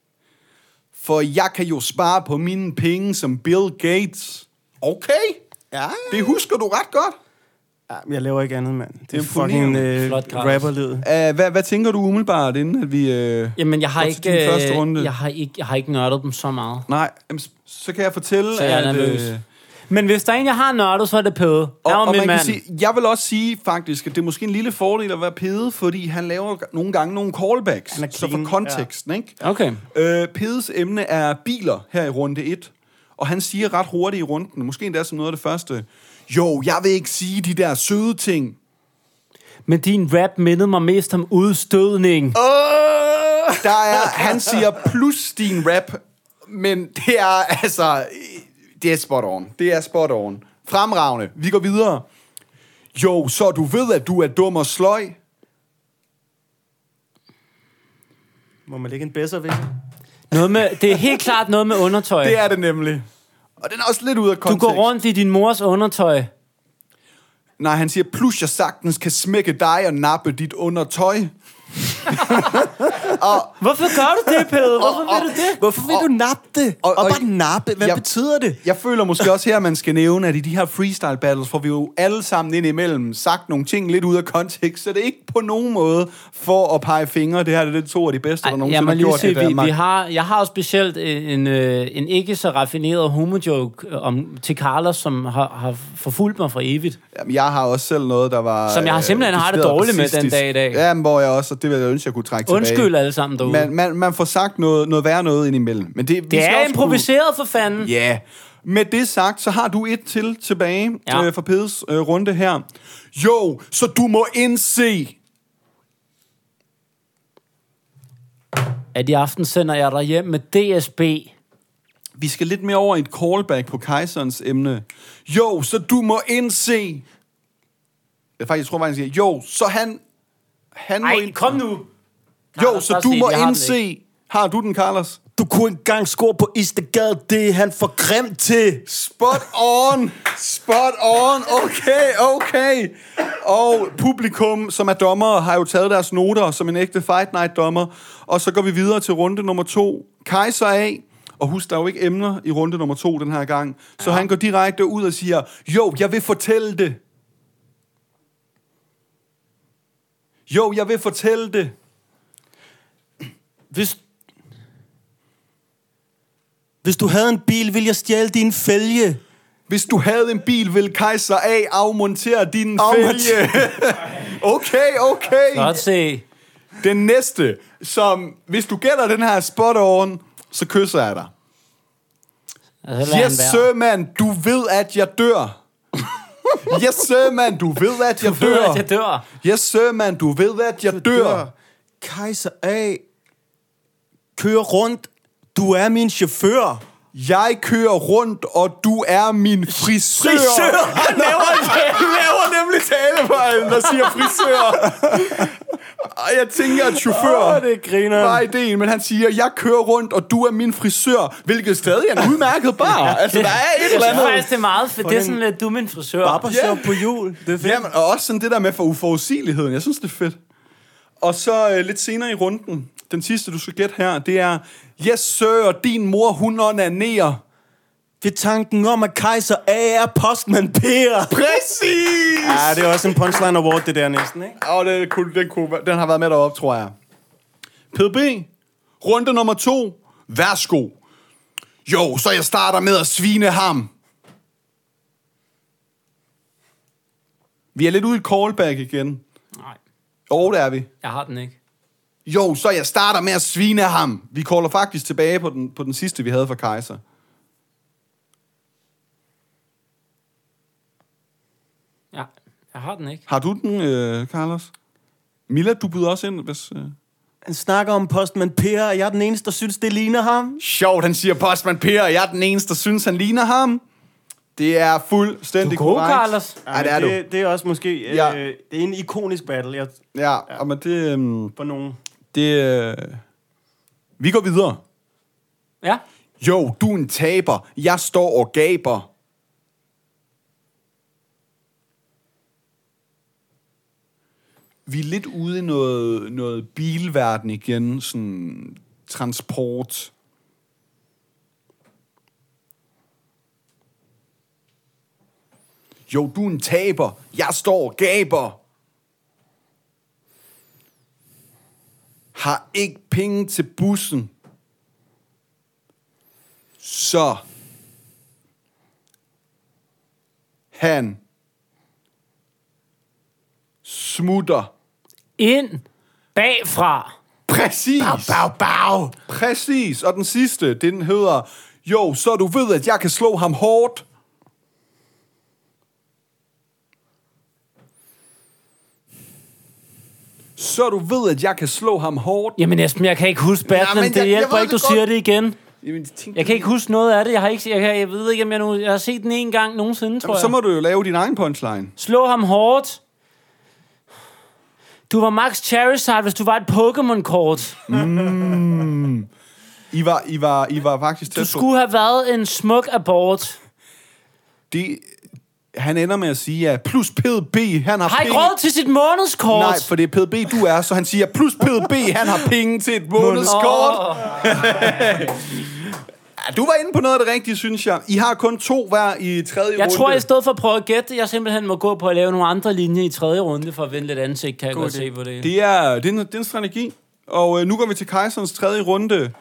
Speaker 2: For jeg kan jo spare på mine penge som Bill Gates. Okay.
Speaker 3: Ja.
Speaker 2: Det husker du ret godt.
Speaker 3: ja men jeg laver ikke andet, mand. Det,
Speaker 2: er
Speaker 3: er fucking øh,
Speaker 4: Flot gratis.
Speaker 3: rapperlyd.
Speaker 2: Uh, hvad, hvad tænker du umiddelbart, inden at vi... Uh...
Speaker 4: Jamen, jeg har,
Speaker 2: Gå til
Speaker 4: ikke,
Speaker 2: din første runde.
Speaker 4: øh, jeg, har ikke, jeg har ikke nørdet dem så meget.
Speaker 2: Nej, jamen, s- så kan jeg fortælle,
Speaker 4: Så jeg er
Speaker 2: at...
Speaker 4: nervøs.
Speaker 2: øh,
Speaker 4: Men hvis der er en, jeg har nørdet, så er det Pede.
Speaker 2: og,
Speaker 4: Han var
Speaker 2: og
Speaker 4: min
Speaker 2: man
Speaker 4: mand.
Speaker 2: kan sige, jeg vil også sige faktisk, at det er måske en lille fordel at være pede, fordi han laver g- nogle gange nogle callbacks,
Speaker 3: Han er
Speaker 2: så for
Speaker 3: clean,
Speaker 2: konteksten, ja. ikke?
Speaker 4: Okay.
Speaker 2: Øh, Pedes emne er biler her i runde 1, og han siger ret hurtigt i runden, måske endda som noget af det første, jo, jeg vil ikke sige de der søde ting.
Speaker 4: Men din rap mindede mig mest om udstødning.
Speaker 2: Der er, han siger plus din rap, men det er altså, det er spot on. Det er spot on. Fremragende. Vi går videre. Jo, så du ved, at du er dum og sløj.
Speaker 3: Må man lægge en bedre ved?
Speaker 4: Noget med, det er helt klart noget med undertøj.
Speaker 2: Det er det nemlig. Og den er også lidt ud af
Speaker 4: Du
Speaker 2: kontekst.
Speaker 4: går rundt i din mors undertøj.
Speaker 2: Nej, han siger, plus jeg sagtens kan smække dig og nappe dit undertøj.
Speaker 4: Hvorfor gør du det, Pede? Hvorfor vil du det?
Speaker 3: Hvorfor vil du nappe det?
Speaker 2: og-
Speaker 3: Og,
Speaker 2: og-
Speaker 3: bare nappe? Hvad
Speaker 2: jeg-
Speaker 3: betyder det?
Speaker 2: Jeg føler måske også her, man skal nævne, at i de her freestyle battles får vi jo alle sammen ind imellem sagt nogle ting lidt ud af kontekst, så det er ikke på nogen måde for at pege fingre. Det her det er det to af de bedste, der
Speaker 4: Ej, jeg
Speaker 2: nogensinde
Speaker 4: må
Speaker 2: har
Speaker 4: lige
Speaker 2: gjort
Speaker 4: se,
Speaker 2: det i
Speaker 4: vi,
Speaker 2: Danmark.
Speaker 4: vi har, jeg har jo specielt en, øh, en ikke så raffineret homojoke øh, om, til Carlos, som har, har forfulgt mig for evigt.
Speaker 2: Jamen, jeg har også selv noget, der var... øh,
Speaker 4: Som jeg har simpelthen har det
Speaker 2: decideret
Speaker 4: dårligt med den
Speaker 2: racistisk.
Speaker 4: dag i dag.
Speaker 2: Jamen, hvor jeg også, og det vil jeg ønske, jeg kunne trække tilbage.
Speaker 4: Undskyld altså, alle sammen derude.
Speaker 2: Man, man, man får sagt noget, noget værre noget indimellem. Men det, vi
Speaker 4: det
Speaker 2: skal
Speaker 4: er
Speaker 2: også kunne-
Speaker 4: improviseret for fanden.
Speaker 2: Ja. Yeah. Med det sagt, så har du et til tilbage ja.
Speaker 4: Ja.
Speaker 2: øh, for Pedes øh, runde her. Jo, så du må indse...
Speaker 4: At i aften sender jeg dig hjem med DSB.
Speaker 2: Vi skal lidt mere over i et callback på kejserens emne. Jo, så du må indse... Jeg faktisk jeg tror, faktisk, han siger, jo, så han... han må
Speaker 4: Ej,
Speaker 2: ind-
Speaker 4: kom nu.
Speaker 2: Jo,
Speaker 4: Carlos,
Speaker 2: så
Speaker 4: bare
Speaker 2: du
Speaker 4: se,
Speaker 2: må
Speaker 4: jeg har den
Speaker 2: indse... Har du den, Carlos?
Speaker 3: Du kunne engang score på Istegade, det er han for grim til.
Speaker 2: Spot on! Spot on! Okay, okay! Og publikum, som er dommer, har jo taget deres noter som en ægte Fight Night-dommer. Og så går vi videre til runde nummer to. Kaiser af. Og husk, der er jo ikke emner i runde nummer to den her gang. Så ja. han går direkte ud og siger, jo, jeg vil fortælle det. Jo, jeg vil fortælle det.
Speaker 3: Hvis, hvis du havde en bil, ville jeg stjæle din fælge.
Speaker 2: Hvis du havde en bil, ville Kaiser A afmontere din
Speaker 3: Afmontere.
Speaker 2: fælge. okay, okay.
Speaker 4: Godt se.
Speaker 2: Den næste, som hvis du gætter den her spot on, så kysser jeg dig.
Speaker 4: Altså, lad
Speaker 2: Yes,
Speaker 4: han være.
Speaker 2: sir, man, du ved, at jeg dør. yes, sir, man, du ved, at jeg
Speaker 4: Du ved,
Speaker 2: dør.
Speaker 4: at jeg dør.
Speaker 2: Yes, sir, man, du ved, at jeg dør.
Speaker 3: Kejser A. Kør rundt. Du er min chauffør.
Speaker 2: Jeg kører rundt, og du er min frisør.
Speaker 3: Frisør!
Speaker 2: Han laver, han laver nemlig talefejlen, der siger frisør. Og jeg tænker, at chauffør...
Speaker 3: Åh, det griner.
Speaker 2: var ideen, men han siger, jeg kører rundt, og du er min frisør, hvilket stadig er en udmærket bar. Altså, der er et
Speaker 4: Jeg
Speaker 2: eller
Speaker 4: synes
Speaker 2: andet.
Speaker 4: faktisk, det er meget fedt. Det er sådan lidt, du er min frisør.
Speaker 3: Barbershop på jul. Det er fedt.
Speaker 2: Jamen, og også sådan det der med for uforudsigeligheden. Jeg synes, det er fedt. Og så øh, lidt senere i runden, den sidste, du skal gætte her, det er, yes sir, din mor, hun onanerer.
Speaker 3: Ved tanken om, at Kejser A er postman Per.
Speaker 2: Præcis!
Speaker 3: Ja, det er også en punchline award, det der næsten, ikke?
Speaker 2: Og den, kunne, den, kunne, den har været med deroppe, tror jeg. PB, runde nummer to. Værsgo. Jo, så jeg starter med at svine ham. Vi er lidt ude i callback igen.
Speaker 4: Nej,
Speaker 2: Jo, det er vi.
Speaker 4: jeg har den ikke.
Speaker 2: Jo, så jeg starter med at svine ham. Vi caller faktisk tilbage på den, på den sidste, vi havde for Kaiser.
Speaker 4: Ja, jeg har den ikke.
Speaker 2: Har du den, øh, Carlos? Milla, du byder også ind, hvis... Øh...
Speaker 3: Han snakker om postmand Per, og jeg er den eneste, der synes, det ligner ham.
Speaker 2: Sjovt, han siger postmand Per, og jeg er den eneste, der synes, han ligner ham. Det er fuldstændig
Speaker 4: Du er god,
Speaker 2: korrekt.
Speaker 4: Carlos.
Speaker 2: Ja, det er du.
Speaker 3: det, det er også måske... Øh,
Speaker 2: Ja.
Speaker 3: ja. Det er en ikonisk battle jeg,
Speaker 2: Ja, og men det... øhm,
Speaker 3: for nogen.
Speaker 2: det øh... Vi går videre.
Speaker 4: Ja,
Speaker 2: Jo, du er en taber. Jeg står og gaber. Vi er lidt ude i noget, noget bilverden igen, sådan transport. Jo, du er en taber. Jeg står og gaber. Har ikke penge til bussen. Så han smutter.
Speaker 4: ind bagfra.
Speaker 2: Præcis. Bag, bag, bag. Præcis. Og den sidste, den hedder, jo, så du ved, at jeg kan slå ham hårdt. Så du ved, at jeg kan slå ham hårdt.
Speaker 4: Jamen Esben, jeg kan ikke huske battlen.
Speaker 2: Jamen,
Speaker 4: Ja,
Speaker 2: jeg-
Speaker 4: det
Speaker 2: jeg
Speaker 4: hjælper
Speaker 2: ved
Speaker 4: ikke, du
Speaker 2: det
Speaker 4: godt. siger
Speaker 2: godt.
Speaker 4: det igen.
Speaker 2: Jamen, tænk,
Speaker 4: Jeg kan ikke huske noget af det. Jeg, har ikke, jeg, kan, jeg ved ikke, om jeg nu... Jeg har set den en gang nogensinde, tror jeg.
Speaker 2: så må du jo lave din egen punchline.
Speaker 4: Slå ham hårdt. Du var Max Charizard, hvis du var et Pokémon-kort.
Speaker 2: I var, I var, I var faktisk
Speaker 4: Du
Speaker 2: tæt på.
Speaker 4: skulle have været en smuk abort.
Speaker 2: Det, han ender med at sige, at plus PDB, han har
Speaker 4: Har ikke
Speaker 2: penge...
Speaker 4: råd til sit månedskort?
Speaker 2: Nej, for det er PDB, du er, så han siger, plus PDB, han har penge til et månedskort.
Speaker 4: Åh.
Speaker 2: Ja, du var inde på noget af det rigtige, synes jeg. I har kun to hver i tredje
Speaker 4: Jeg
Speaker 2: runde.
Speaker 4: tror, i stedet for at prøve at gætte, jeg simpelthen må gå på at lave nogle andre linjer i tredje runde for at vinde lidt ansigt, kan jeg godt se på det.
Speaker 2: Det er, det er, en, det er en strategi. Og øh, nu går vi til kejserens tredje runde.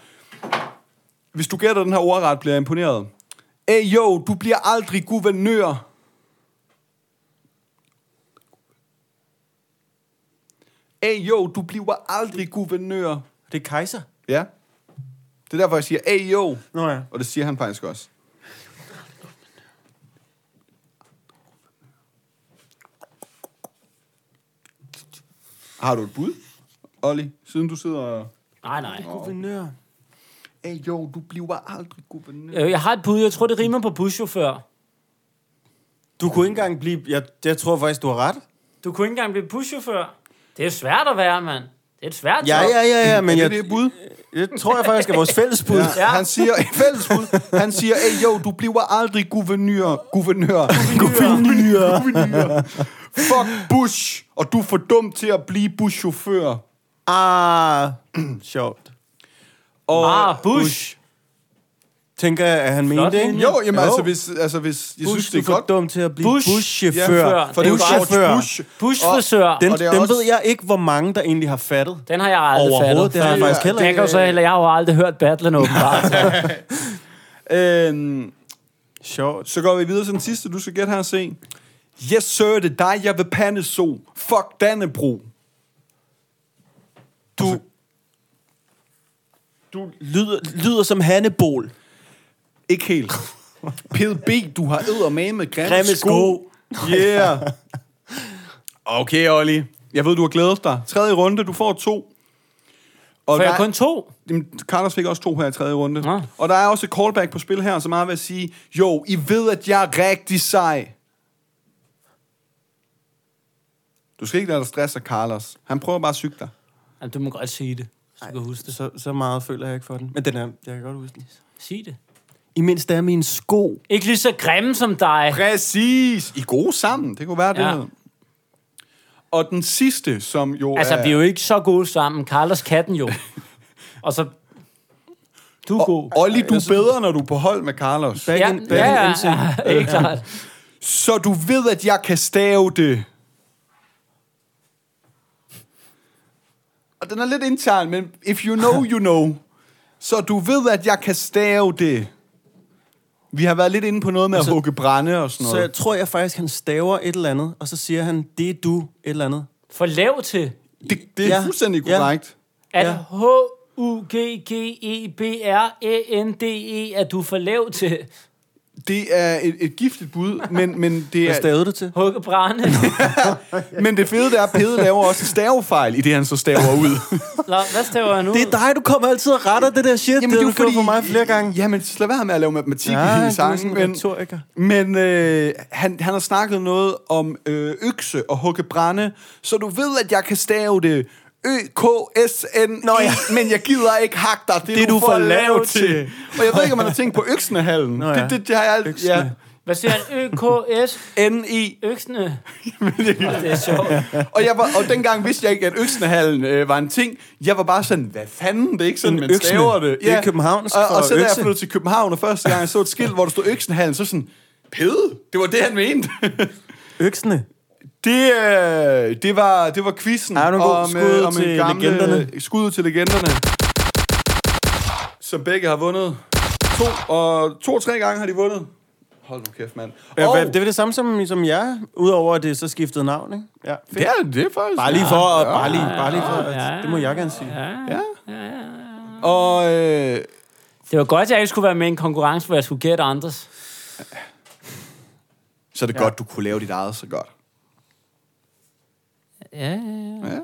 Speaker 2: Hvis du gætter den her ordret, bliver jeg imponeret. Ey, yo, du bliver aldrig guvernør. Ey, yo, du bliver aldrig guvernør.
Speaker 3: Det er kejser.
Speaker 2: Ja. Det er derfor, jeg siger, ey, yo.
Speaker 3: Nå ja.
Speaker 2: Og det siger han faktisk også. Har du et bud, Olli? Siden du sidder og...
Speaker 4: Nej, nej.
Speaker 3: Guvernør.
Speaker 2: Hey, jo, du bliver aldrig guvernør.
Speaker 4: Øh, Jeg har et bud. Jeg tror, det rimer på buschauffør.
Speaker 3: Du kunne ikke engang blive... Jeg, jeg tror faktisk, du har ret.
Speaker 4: Du kunne ikke engang blive buschauffør. Det er svært at være, mand. Det er et svært
Speaker 3: Ja,
Speaker 4: job.
Speaker 3: ja, ja, ja, men
Speaker 2: Men er
Speaker 3: jeg,
Speaker 2: det det bud?
Speaker 3: det tror jeg faktisk er vores fælles bud. Ja.
Speaker 2: Ja. Han siger, fælles bud, han siger, hey, jo, du bliver aldrig guvernør. Guvernør. Guvernør. guvernør. Fuck Bush, og du er for dum til at blive Bush-chauffør.
Speaker 3: Ah, sjovt.
Speaker 2: Og,
Speaker 4: Ah, Bush.
Speaker 3: Tænker jeg, at han
Speaker 4: Flot
Speaker 3: mente, ikke?
Speaker 4: linje.
Speaker 2: Jo, jamen jo. altså, hvis, altså, hvis jeg
Speaker 3: Bush,
Speaker 2: synes, det er
Speaker 3: du for
Speaker 2: godt.
Speaker 3: dum til at blive
Speaker 4: Bush.
Speaker 3: buschauffør.
Speaker 4: Ja,
Speaker 2: For det er jo George
Speaker 3: Buschauffør.
Speaker 2: Bush.
Speaker 4: Buschfrisør.
Speaker 3: Den,
Speaker 2: Og det er
Speaker 3: den
Speaker 2: også-
Speaker 3: ved jeg ikke, hvor mange, der egentlig har fattet.
Speaker 4: Den har jeg aldrig
Speaker 3: Overhovedet,
Speaker 4: fattet.
Speaker 3: det har jeg
Speaker 4: Fordi-
Speaker 3: faktisk heller
Speaker 4: Jeg, kan jo så, heller- jeg har jo aldrig hørt battlen åbenbart.
Speaker 2: Øhm,
Speaker 3: Sjovt.
Speaker 2: så går vi videre til den sidste, du skal gætte her og se. Yes, sir, det er dig, jeg vil pande så. Fuck Dannebro.
Speaker 3: Du,
Speaker 2: Altså-
Speaker 3: du lyder, lyder som Hannibal.
Speaker 2: Ikke helt. PDB, du har eddermame med grimme,
Speaker 3: Grimme sko.
Speaker 2: Yeah. Okay, Olli. Jeg ved, du har glædet dig. Tredje runde, du får to. Og
Speaker 4: For jeg
Speaker 2: der-
Speaker 4: kun to.
Speaker 2: Jamen, Carlos fik også to her i tredje runde.
Speaker 4: Nå.
Speaker 2: Og der er også et callback på spil her, som har ved at sige, jo, I ved, at jeg er rigtig sej. Du skal ikke lade dig stresse, Carlos. Han prøver bare at syge dig.
Speaker 4: Jamen, du må godt sige det, hvis du kan huske det.
Speaker 3: Så, så meget føler jeg ikke for den. Men den er, jeg kan godt huske den.
Speaker 4: Sig det.
Speaker 3: Imens der er mine sko.
Speaker 4: Ikke lige så grimme som dig.
Speaker 2: Præcis. I er gode sammen. Det kunne være
Speaker 4: Ja.
Speaker 2: ja. det. Og den sidste, som jo
Speaker 4: Altså,
Speaker 2: er...
Speaker 4: vi er jo ikke så gode sammen. Carlos katten jo. Og så... Du er god.
Speaker 2: Og, Olli, du er bedre, når du er på hold med Carlos.
Speaker 3: Back
Speaker 4: Ja,
Speaker 3: in, back
Speaker 4: ja,
Speaker 3: in
Speaker 4: ja,
Speaker 3: NC.
Speaker 4: ja, ikke klart.
Speaker 2: Så du ved, at jeg kan stave det. og den er lidt intern, men if you know, you know. Så du ved, at jeg kan stave det. Vi har været lidt inde på noget med altså, at hugge brænde og sådan
Speaker 3: Så
Speaker 2: noget.
Speaker 3: jeg tror jeg faktisk, han staver et eller andet, og så siger han, det er du, et eller andet.
Speaker 4: For lav til.
Speaker 2: Det, det er
Speaker 3: Ja,
Speaker 2: fuldstændig
Speaker 3: ja.
Speaker 2: korrekt.
Speaker 4: At
Speaker 3: Ja.
Speaker 4: H-U-G-G-E-B-R-E-N-D-E er du for lav til.
Speaker 2: Det er et, et giftigt bud, men, men, det
Speaker 3: Hvad
Speaker 2: er,
Speaker 3: stavede du til?
Speaker 4: Hugge brænde.
Speaker 2: men det fede det er, at Pede laver også en stavefejl, i det han så staver ud.
Speaker 4: Nå, hvad staver han ud?
Speaker 3: Det er dig, du kommer altid og retter det der shit. Jamen, det,
Speaker 2: er
Speaker 3: du
Speaker 2: jo
Speaker 3: gjorde for mig flere gange.
Speaker 2: Jamen, så lad være med at lave matematik
Speaker 3: Ja,
Speaker 2: ja, i
Speaker 3: du er
Speaker 2: hele
Speaker 3: sådan
Speaker 2: sangen.
Speaker 3: en
Speaker 2: Men,
Speaker 3: retoriker.
Speaker 2: men øh, han, han har snakket noget om øh, økse og hugge brænde, så du ved, at jeg kan stave det Ø-K-S-N, ja. men jeg gider ikke hakke dig. Det,
Speaker 3: er du for lav til.
Speaker 2: Og jeg ved ikke, om man har tænkt på øksnehallen.
Speaker 3: Nå ja.
Speaker 2: Det, det, det har jeg alt... Ja.
Speaker 3: Øksene.
Speaker 4: Hvad siger han? Ø-K-S?
Speaker 2: N-E.
Speaker 4: Øksene. det er sjovt.
Speaker 2: Og, jeg var, og dengang vidste jeg ikke, at øksnehallen øh, var en ting. Jeg var bare sådan, hvad fanden, det er ikke sådan,
Speaker 3: En
Speaker 2: man
Speaker 3: øksne.
Speaker 2: staver det.
Speaker 3: Det er københavnsk
Speaker 2: og,
Speaker 3: for
Speaker 2: og så da jeg
Speaker 3: økse.
Speaker 2: flyttede til København, og første gang jeg så et skilt, hvor der stod øksnehallen, så sådan, pede, det var det, han mente.
Speaker 3: Øksene.
Speaker 2: det, øh, det, var, det var quizzen øh,
Speaker 3: Ja, det var en god skud
Speaker 2: en
Speaker 3: til legenderne.
Speaker 2: Skud til legenderne. Som begge har vundet. To og to og tre gange har de vundet. Hold nu kæft, mand.
Speaker 3: Ja,
Speaker 2: Og-
Speaker 3: hvad- det er det samme som, som jeg, udover at det så skiftede navn, ikke? Ja, fedt.
Speaker 2: det er det er faktisk.
Speaker 3: Bare lige for, at- bare lige, bare lige for,
Speaker 4: ja,
Speaker 3: at, det må jeg gerne sige.
Speaker 2: Og øh,
Speaker 4: Det var godt, at jeg ikke skulle være med i en konkurrence, hvor jeg skulle gætte andres.
Speaker 2: så er det ja. godt, du kunne lave dit eget så godt.
Speaker 4: Ja, ja, ja.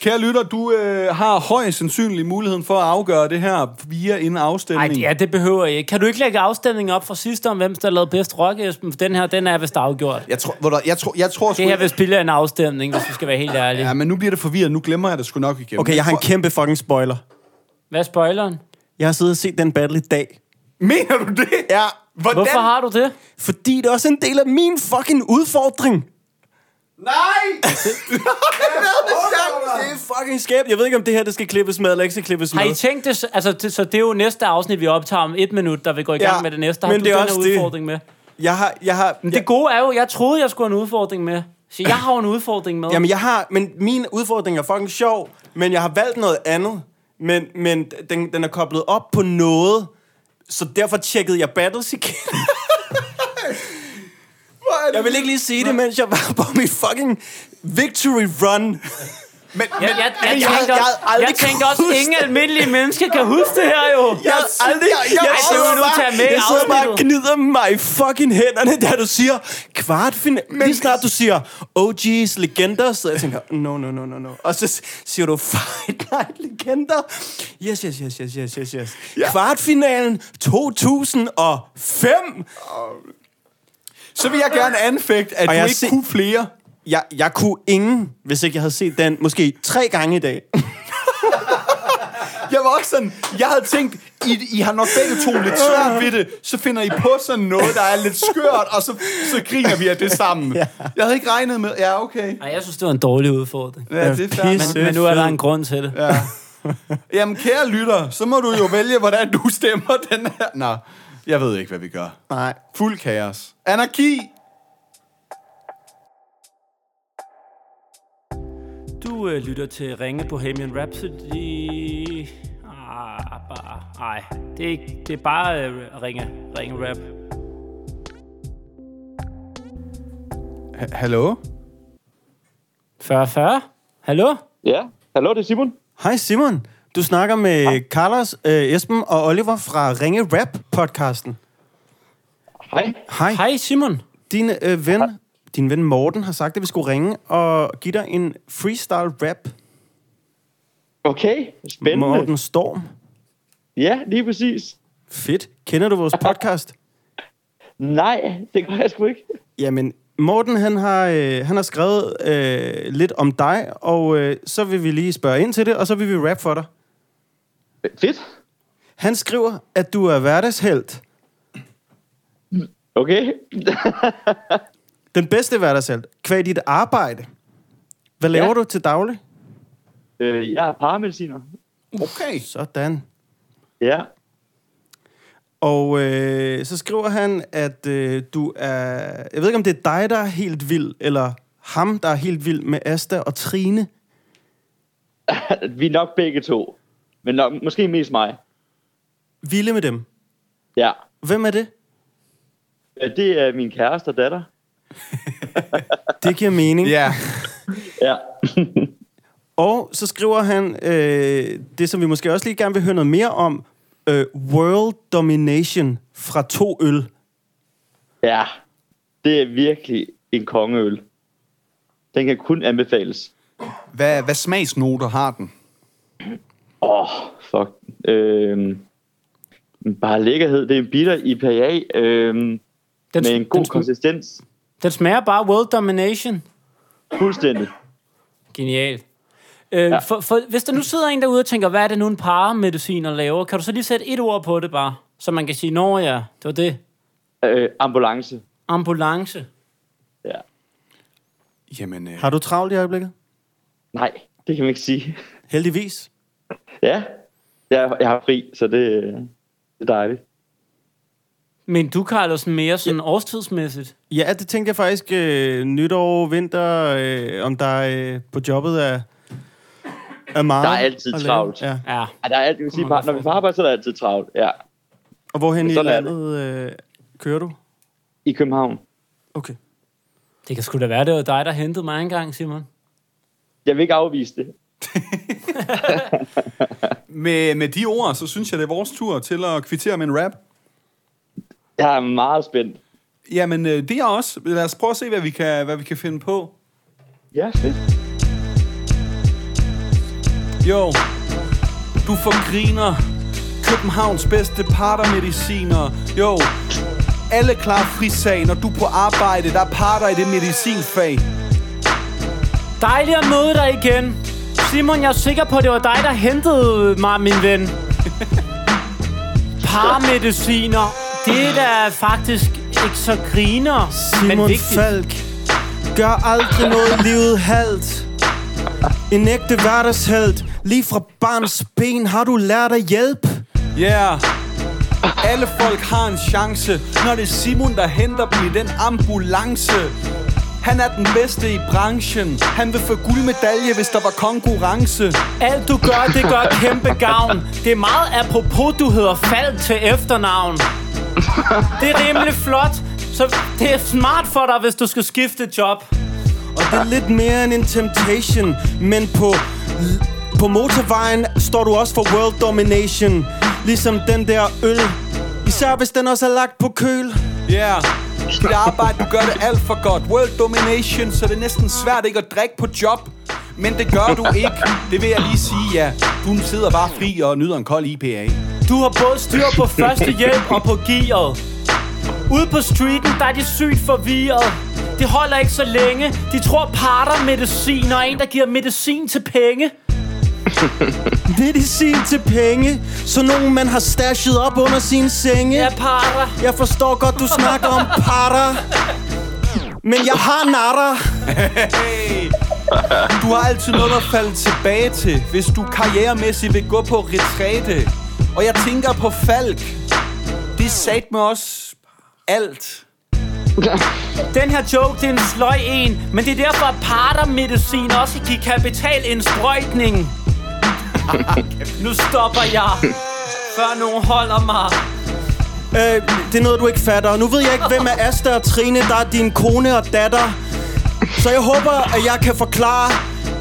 Speaker 2: Kære lytter, du øh, har højst sandsynlig muligheden for at afgøre det her via en
Speaker 4: Ej,
Speaker 2: afstemning.
Speaker 4: det- ja, det behøver jeg ikke. Kan du ikke lægge afstemningen op fra sidste om, hvem der lavede bedst rock, Esben? For den her, den er vist afgjort.
Speaker 2: Jeg tror, hvor der, jeg tror, jeg tror sgu...
Speaker 4: Det her
Speaker 2: Jeg
Speaker 4: vil spille en afstemning, hvis vi skal være helt ærlige.
Speaker 2: Ja, men nu bliver det forvirret. Nu glemmer jeg det sgu nok igen.
Speaker 3: Okay, jeg har en
Speaker 2: Hvor-
Speaker 3: kæmpe fucking spoiler.
Speaker 4: Hvad er spoileren?
Speaker 3: Jeg har siddet og set den battle i dag.
Speaker 2: Mener du det? Ja. Hvordan?
Speaker 4: Hvorfor har du det?
Speaker 3: Fordi det er også en del af min fucking udfordring.
Speaker 2: Nej!
Speaker 3: Det er fucking skæbt. Jeg ved ikke, om det her det skal klippes med, eller ikke skal klippes med.
Speaker 4: Har I tænkt det? Altså, det, så det er jo næste afsnit, vi optager om et minut, der vil gå i gang
Speaker 3: Ja,
Speaker 4: med det næste. Har
Speaker 3: men
Speaker 4: du
Speaker 3: det er
Speaker 4: den
Speaker 3: også
Speaker 4: her
Speaker 3: det.
Speaker 4: udfordring med?
Speaker 3: Jeg har, jeg har,
Speaker 4: Det gode er jo, jeg troede, jeg skulle have en udfordring med. Så jeg har jo en udfordring med.
Speaker 3: Jamen, jeg har, men min udfordring er fucking sjov, men jeg har valgt noget andet. Men, men den, den er koblet op på noget, så derfor tjekkede jeg battles igen. jeg vil ikke lige sige det, mens jeg var på min fucking victory run.
Speaker 2: Men,
Speaker 4: jeg, jeg, jeg,
Speaker 3: jeg-
Speaker 4: tænkte
Speaker 3: jeg
Speaker 4: også,
Speaker 3: havde aldrig
Speaker 4: jeg tænkte også,
Speaker 3: kunnet
Speaker 4: ingen almindelige mennesker kan huske det her jo.
Speaker 3: Jeg har aldrig... Jeg, jeg,
Speaker 4: det vil du tage med i
Speaker 3: jeg sidder bare og
Speaker 4: afsnittet.
Speaker 3: gnider mig i fucking hænderne, da du siger kvartfinal. Lige snart du siger OG's legender, så jeg tænker, no, no, no, no, no. Og så s- siger du Fight Night legender. Yes, yes, yes, yes, yes, yes, yes. Ja. Kvartfinalen 2005.
Speaker 2: Så vil jeg gerne anfægte, at
Speaker 3: Og
Speaker 2: du
Speaker 3: jeg har
Speaker 2: ikke
Speaker 3: set-
Speaker 2: kunne flere.
Speaker 3: Jeg, jeg kunne ingen, hvis ikke jeg havde set den, måske tre gange i dag.
Speaker 2: Jeg var også sådan, jeg havde tænkt, I, I har nok begge to lidt svært ved det, så finder I på sådan noget, der er lidt skørt, og så, så griner vi af det sammen. Ja. Jeg havde ikke regnet med, ja, okay.
Speaker 4: Ej, jeg synes, det var en dårlig udfordring.
Speaker 2: Ja, det er fair.
Speaker 3: Pis.
Speaker 4: Men, men nu er der en grund til det. Ja.
Speaker 2: Jamen, kære lytter, så må du jo vælge, hvordan du stemmer den her. Nå, jeg ved ikke, hvad vi gør.
Speaker 3: Nej.
Speaker 2: Fuld kaos. Anarki!
Speaker 4: Du øh, lytter til Ringe Bohemian Rhapsody. Ah, bare, ej, det er, ikke, det er bare øh, ringe, ringe rap.
Speaker 2: Ha- Hallo?
Speaker 4: 40-40? Hallo?
Speaker 1: Ja, hallo, det er Simon.
Speaker 3: Hej Simon. Du snakker med Carlos, øh, Esben og Oliver fra Ringe Rap-podcasten.
Speaker 1: Hej.
Speaker 3: Hej.
Speaker 4: Hej Simon.
Speaker 3: Din øh, ven, din ven Morten har sagt, at vi skulle ringe og give dig en freestyle rap.
Speaker 1: Okay, spændende.
Speaker 3: Morten Storm.
Speaker 1: Ja, lige præcis.
Speaker 3: Fedt. Kender du vores podcast?
Speaker 1: Nej, det gør jeg sgu ikke.
Speaker 3: Jamen, Morten han har, øh, han har skrevet øh, lidt om dig, og øh, så vil vi lige spørge ind til det, og så vil vi rap for dig.
Speaker 1: Fedt.
Speaker 3: Han skriver, at du er hverdagshelt.
Speaker 1: Okay.
Speaker 3: Den bedste hverdagshelt. Kvad dit arbejde. Hvad laver
Speaker 1: Ja.
Speaker 3: du til daglig?
Speaker 1: øh, jeg er paramediciner.
Speaker 2: Okay.
Speaker 3: Sådan.
Speaker 1: Ja.
Speaker 3: Og øh, så skriver han, at øh, du er... Jeg ved ikke, om det er dig, der er helt vild, eller ham, der er helt vild med Asta og Trine.
Speaker 7: vi er nok begge to. Men nok, måske mest mig.
Speaker 3: Vilde med dem.
Speaker 7: Ja.
Speaker 3: Hvem er det?
Speaker 7: Øh, Det er min kæreste og datter.
Speaker 3: Det giver mening.
Speaker 2: Ja.
Speaker 7: Ja.
Speaker 3: Og så skriver han øh, det, som vi måske også lige gerne vil høre noget mere om. Øh, world Domination fra to øl.
Speaker 7: ja. Det er virkelig en kongeøl. Den kan kun anbefales.
Speaker 2: Hvad, hvad smagsnoter har den?
Speaker 7: Åh, oh, fuck. Øhm, bare lækkerhed. Det er en bitter IPA øhm,
Speaker 4: Den,
Speaker 7: med en god
Speaker 4: den,
Speaker 7: konsistens.
Speaker 4: den smager bare world domination.
Speaker 7: Fuldstændig.
Speaker 4: Genialt. Øh, ja. for, for, hvis der nu sidder en derude og tænker, hvad er det nu en paramediciner laver, kan du så lige sætte et ord på det bare? Så man kan sige, nå ja, det var det.
Speaker 7: Øh, ambulance.
Speaker 4: Ambulance.
Speaker 7: Ja.
Speaker 2: Jamen, øh,
Speaker 3: Har du travlt i øjeblikket?
Speaker 7: Nej, det kan man ikke sige.
Speaker 3: Heldigvis.
Speaker 7: Ja, jeg, jeg har fri, så det, øh, det er dejligt.
Speaker 4: Men du, Carlos, mere sådan ja. årstidsmæssigt.
Speaker 3: Ja, det tænkte jeg faktisk øh, nytår, vinter, øh, om der øh, på jobbet er, er meget.
Speaker 7: Der er altid
Speaker 3: at lave.
Speaker 7: travlt.
Speaker 3: Ja.
Speaker 4: Ja.
Speaker 7: Ja, der er alt, jeg vil sige, bare, når vi er på arbejde, så er der altid travlt. Ja,
Speaker 3: Og hvorhen i
Speaker 7: Sådan er det.
Speaker 3: landet øh, kører du?
Speaker 7: i København.
Speaker 3: Okay.
Speaker 4: Det kan sgu da være, det var dig, der hentede mig engang, Simon.
Speaker 7: Jeg vil ikke afvise det.
Speaker 2: med, med de ord, så synes jeg, det er vores tur til at kvittere med en rap.
Speaker 7: Jeg er meget spændt.
Speaker 2: Jamen, øh, det er jeg også. Lad os prøve at se, hvad vi kan, hvad vi kan finde på.
Speaker 7: Ja, fedt.
Speaker 2: Jo, du får griner. Københavns bedste partermediciner. Jo, alle klar frisag, når du er på arbejde. Der er parter i det medicinfag.
Speaker 4: Dejligt at møde dig igen. Simon, jeg er sikker på, at det var dig, der hentede mig, min ven. Paramediciner. Det er da faktisk ikke så griner, men
Speaker 3: Simon
Speaker 4: vigtigt.
Speaker 3: Falk. Gør aldrig noget i livet halvt. En ægte hverdagshelt. Lige fra barns ben har du lært at hjælpe.
Speaker 2: Yeah. Alle folk har en chance, når det er Simon, der henter dem i den ambulance. Han er den bedste i branchen. Han vil få guldmedalje, hvis der var konkurrence.
Speaker 4: Alt du gør, det gør kæmpe gavn. Det er meget apropos, du hedder Fald til efternavn. Det er rimelig flot, så det er smart for dig, hvis du skal skifte job.
Speaker 3: Og det er lidt mere end en temptation. Men på, på motorvejen står du også for world domination. Ligesom den der øl. Især hvis den også er lagt på køl.
Speaker 2: Yeah. Dit arbejde, du gør det alt for godt. World domination, så det er næsten svært ikke at drikke på job. Men det gør du ikke. Det vil jeg lige sige, ja. Du sidder bare fri og nyder en kold IPA.
Speaker 4: Du har både styr på første hjælp og på gearet. Ude på streeten, der er de sygt forvirret. Det holder ikke så længe. De tror parter medicin og en, der giver medicin til penge.
Speaker 3: Medicin til penge. Så nogen man har stashet op under sin senge.
Speaker 4: Ja, parter.
Speaker 3: Jeg forstår godt, du snakker om parter. Men jeg har natter.
Speaker 2: Du har altid noget at falde tilbage til, hvis du karrieremæssigt vil gå på retræte. Og jeg tænker på Falk. Det sagde med os alt.
Speaker 4: Den her joke, det er en sløj en, men det er derfor, at partermedicin også giver kapital en sprøjtning. nu stopper jeg, før nogen holder mig.
Speaker 3: Øh, det er noget, du ikke fatter. Nu ved jeg ikke, hvem er Asta og Trine, der er din kone og datter. Så jeg håber, at jeg kan forklare.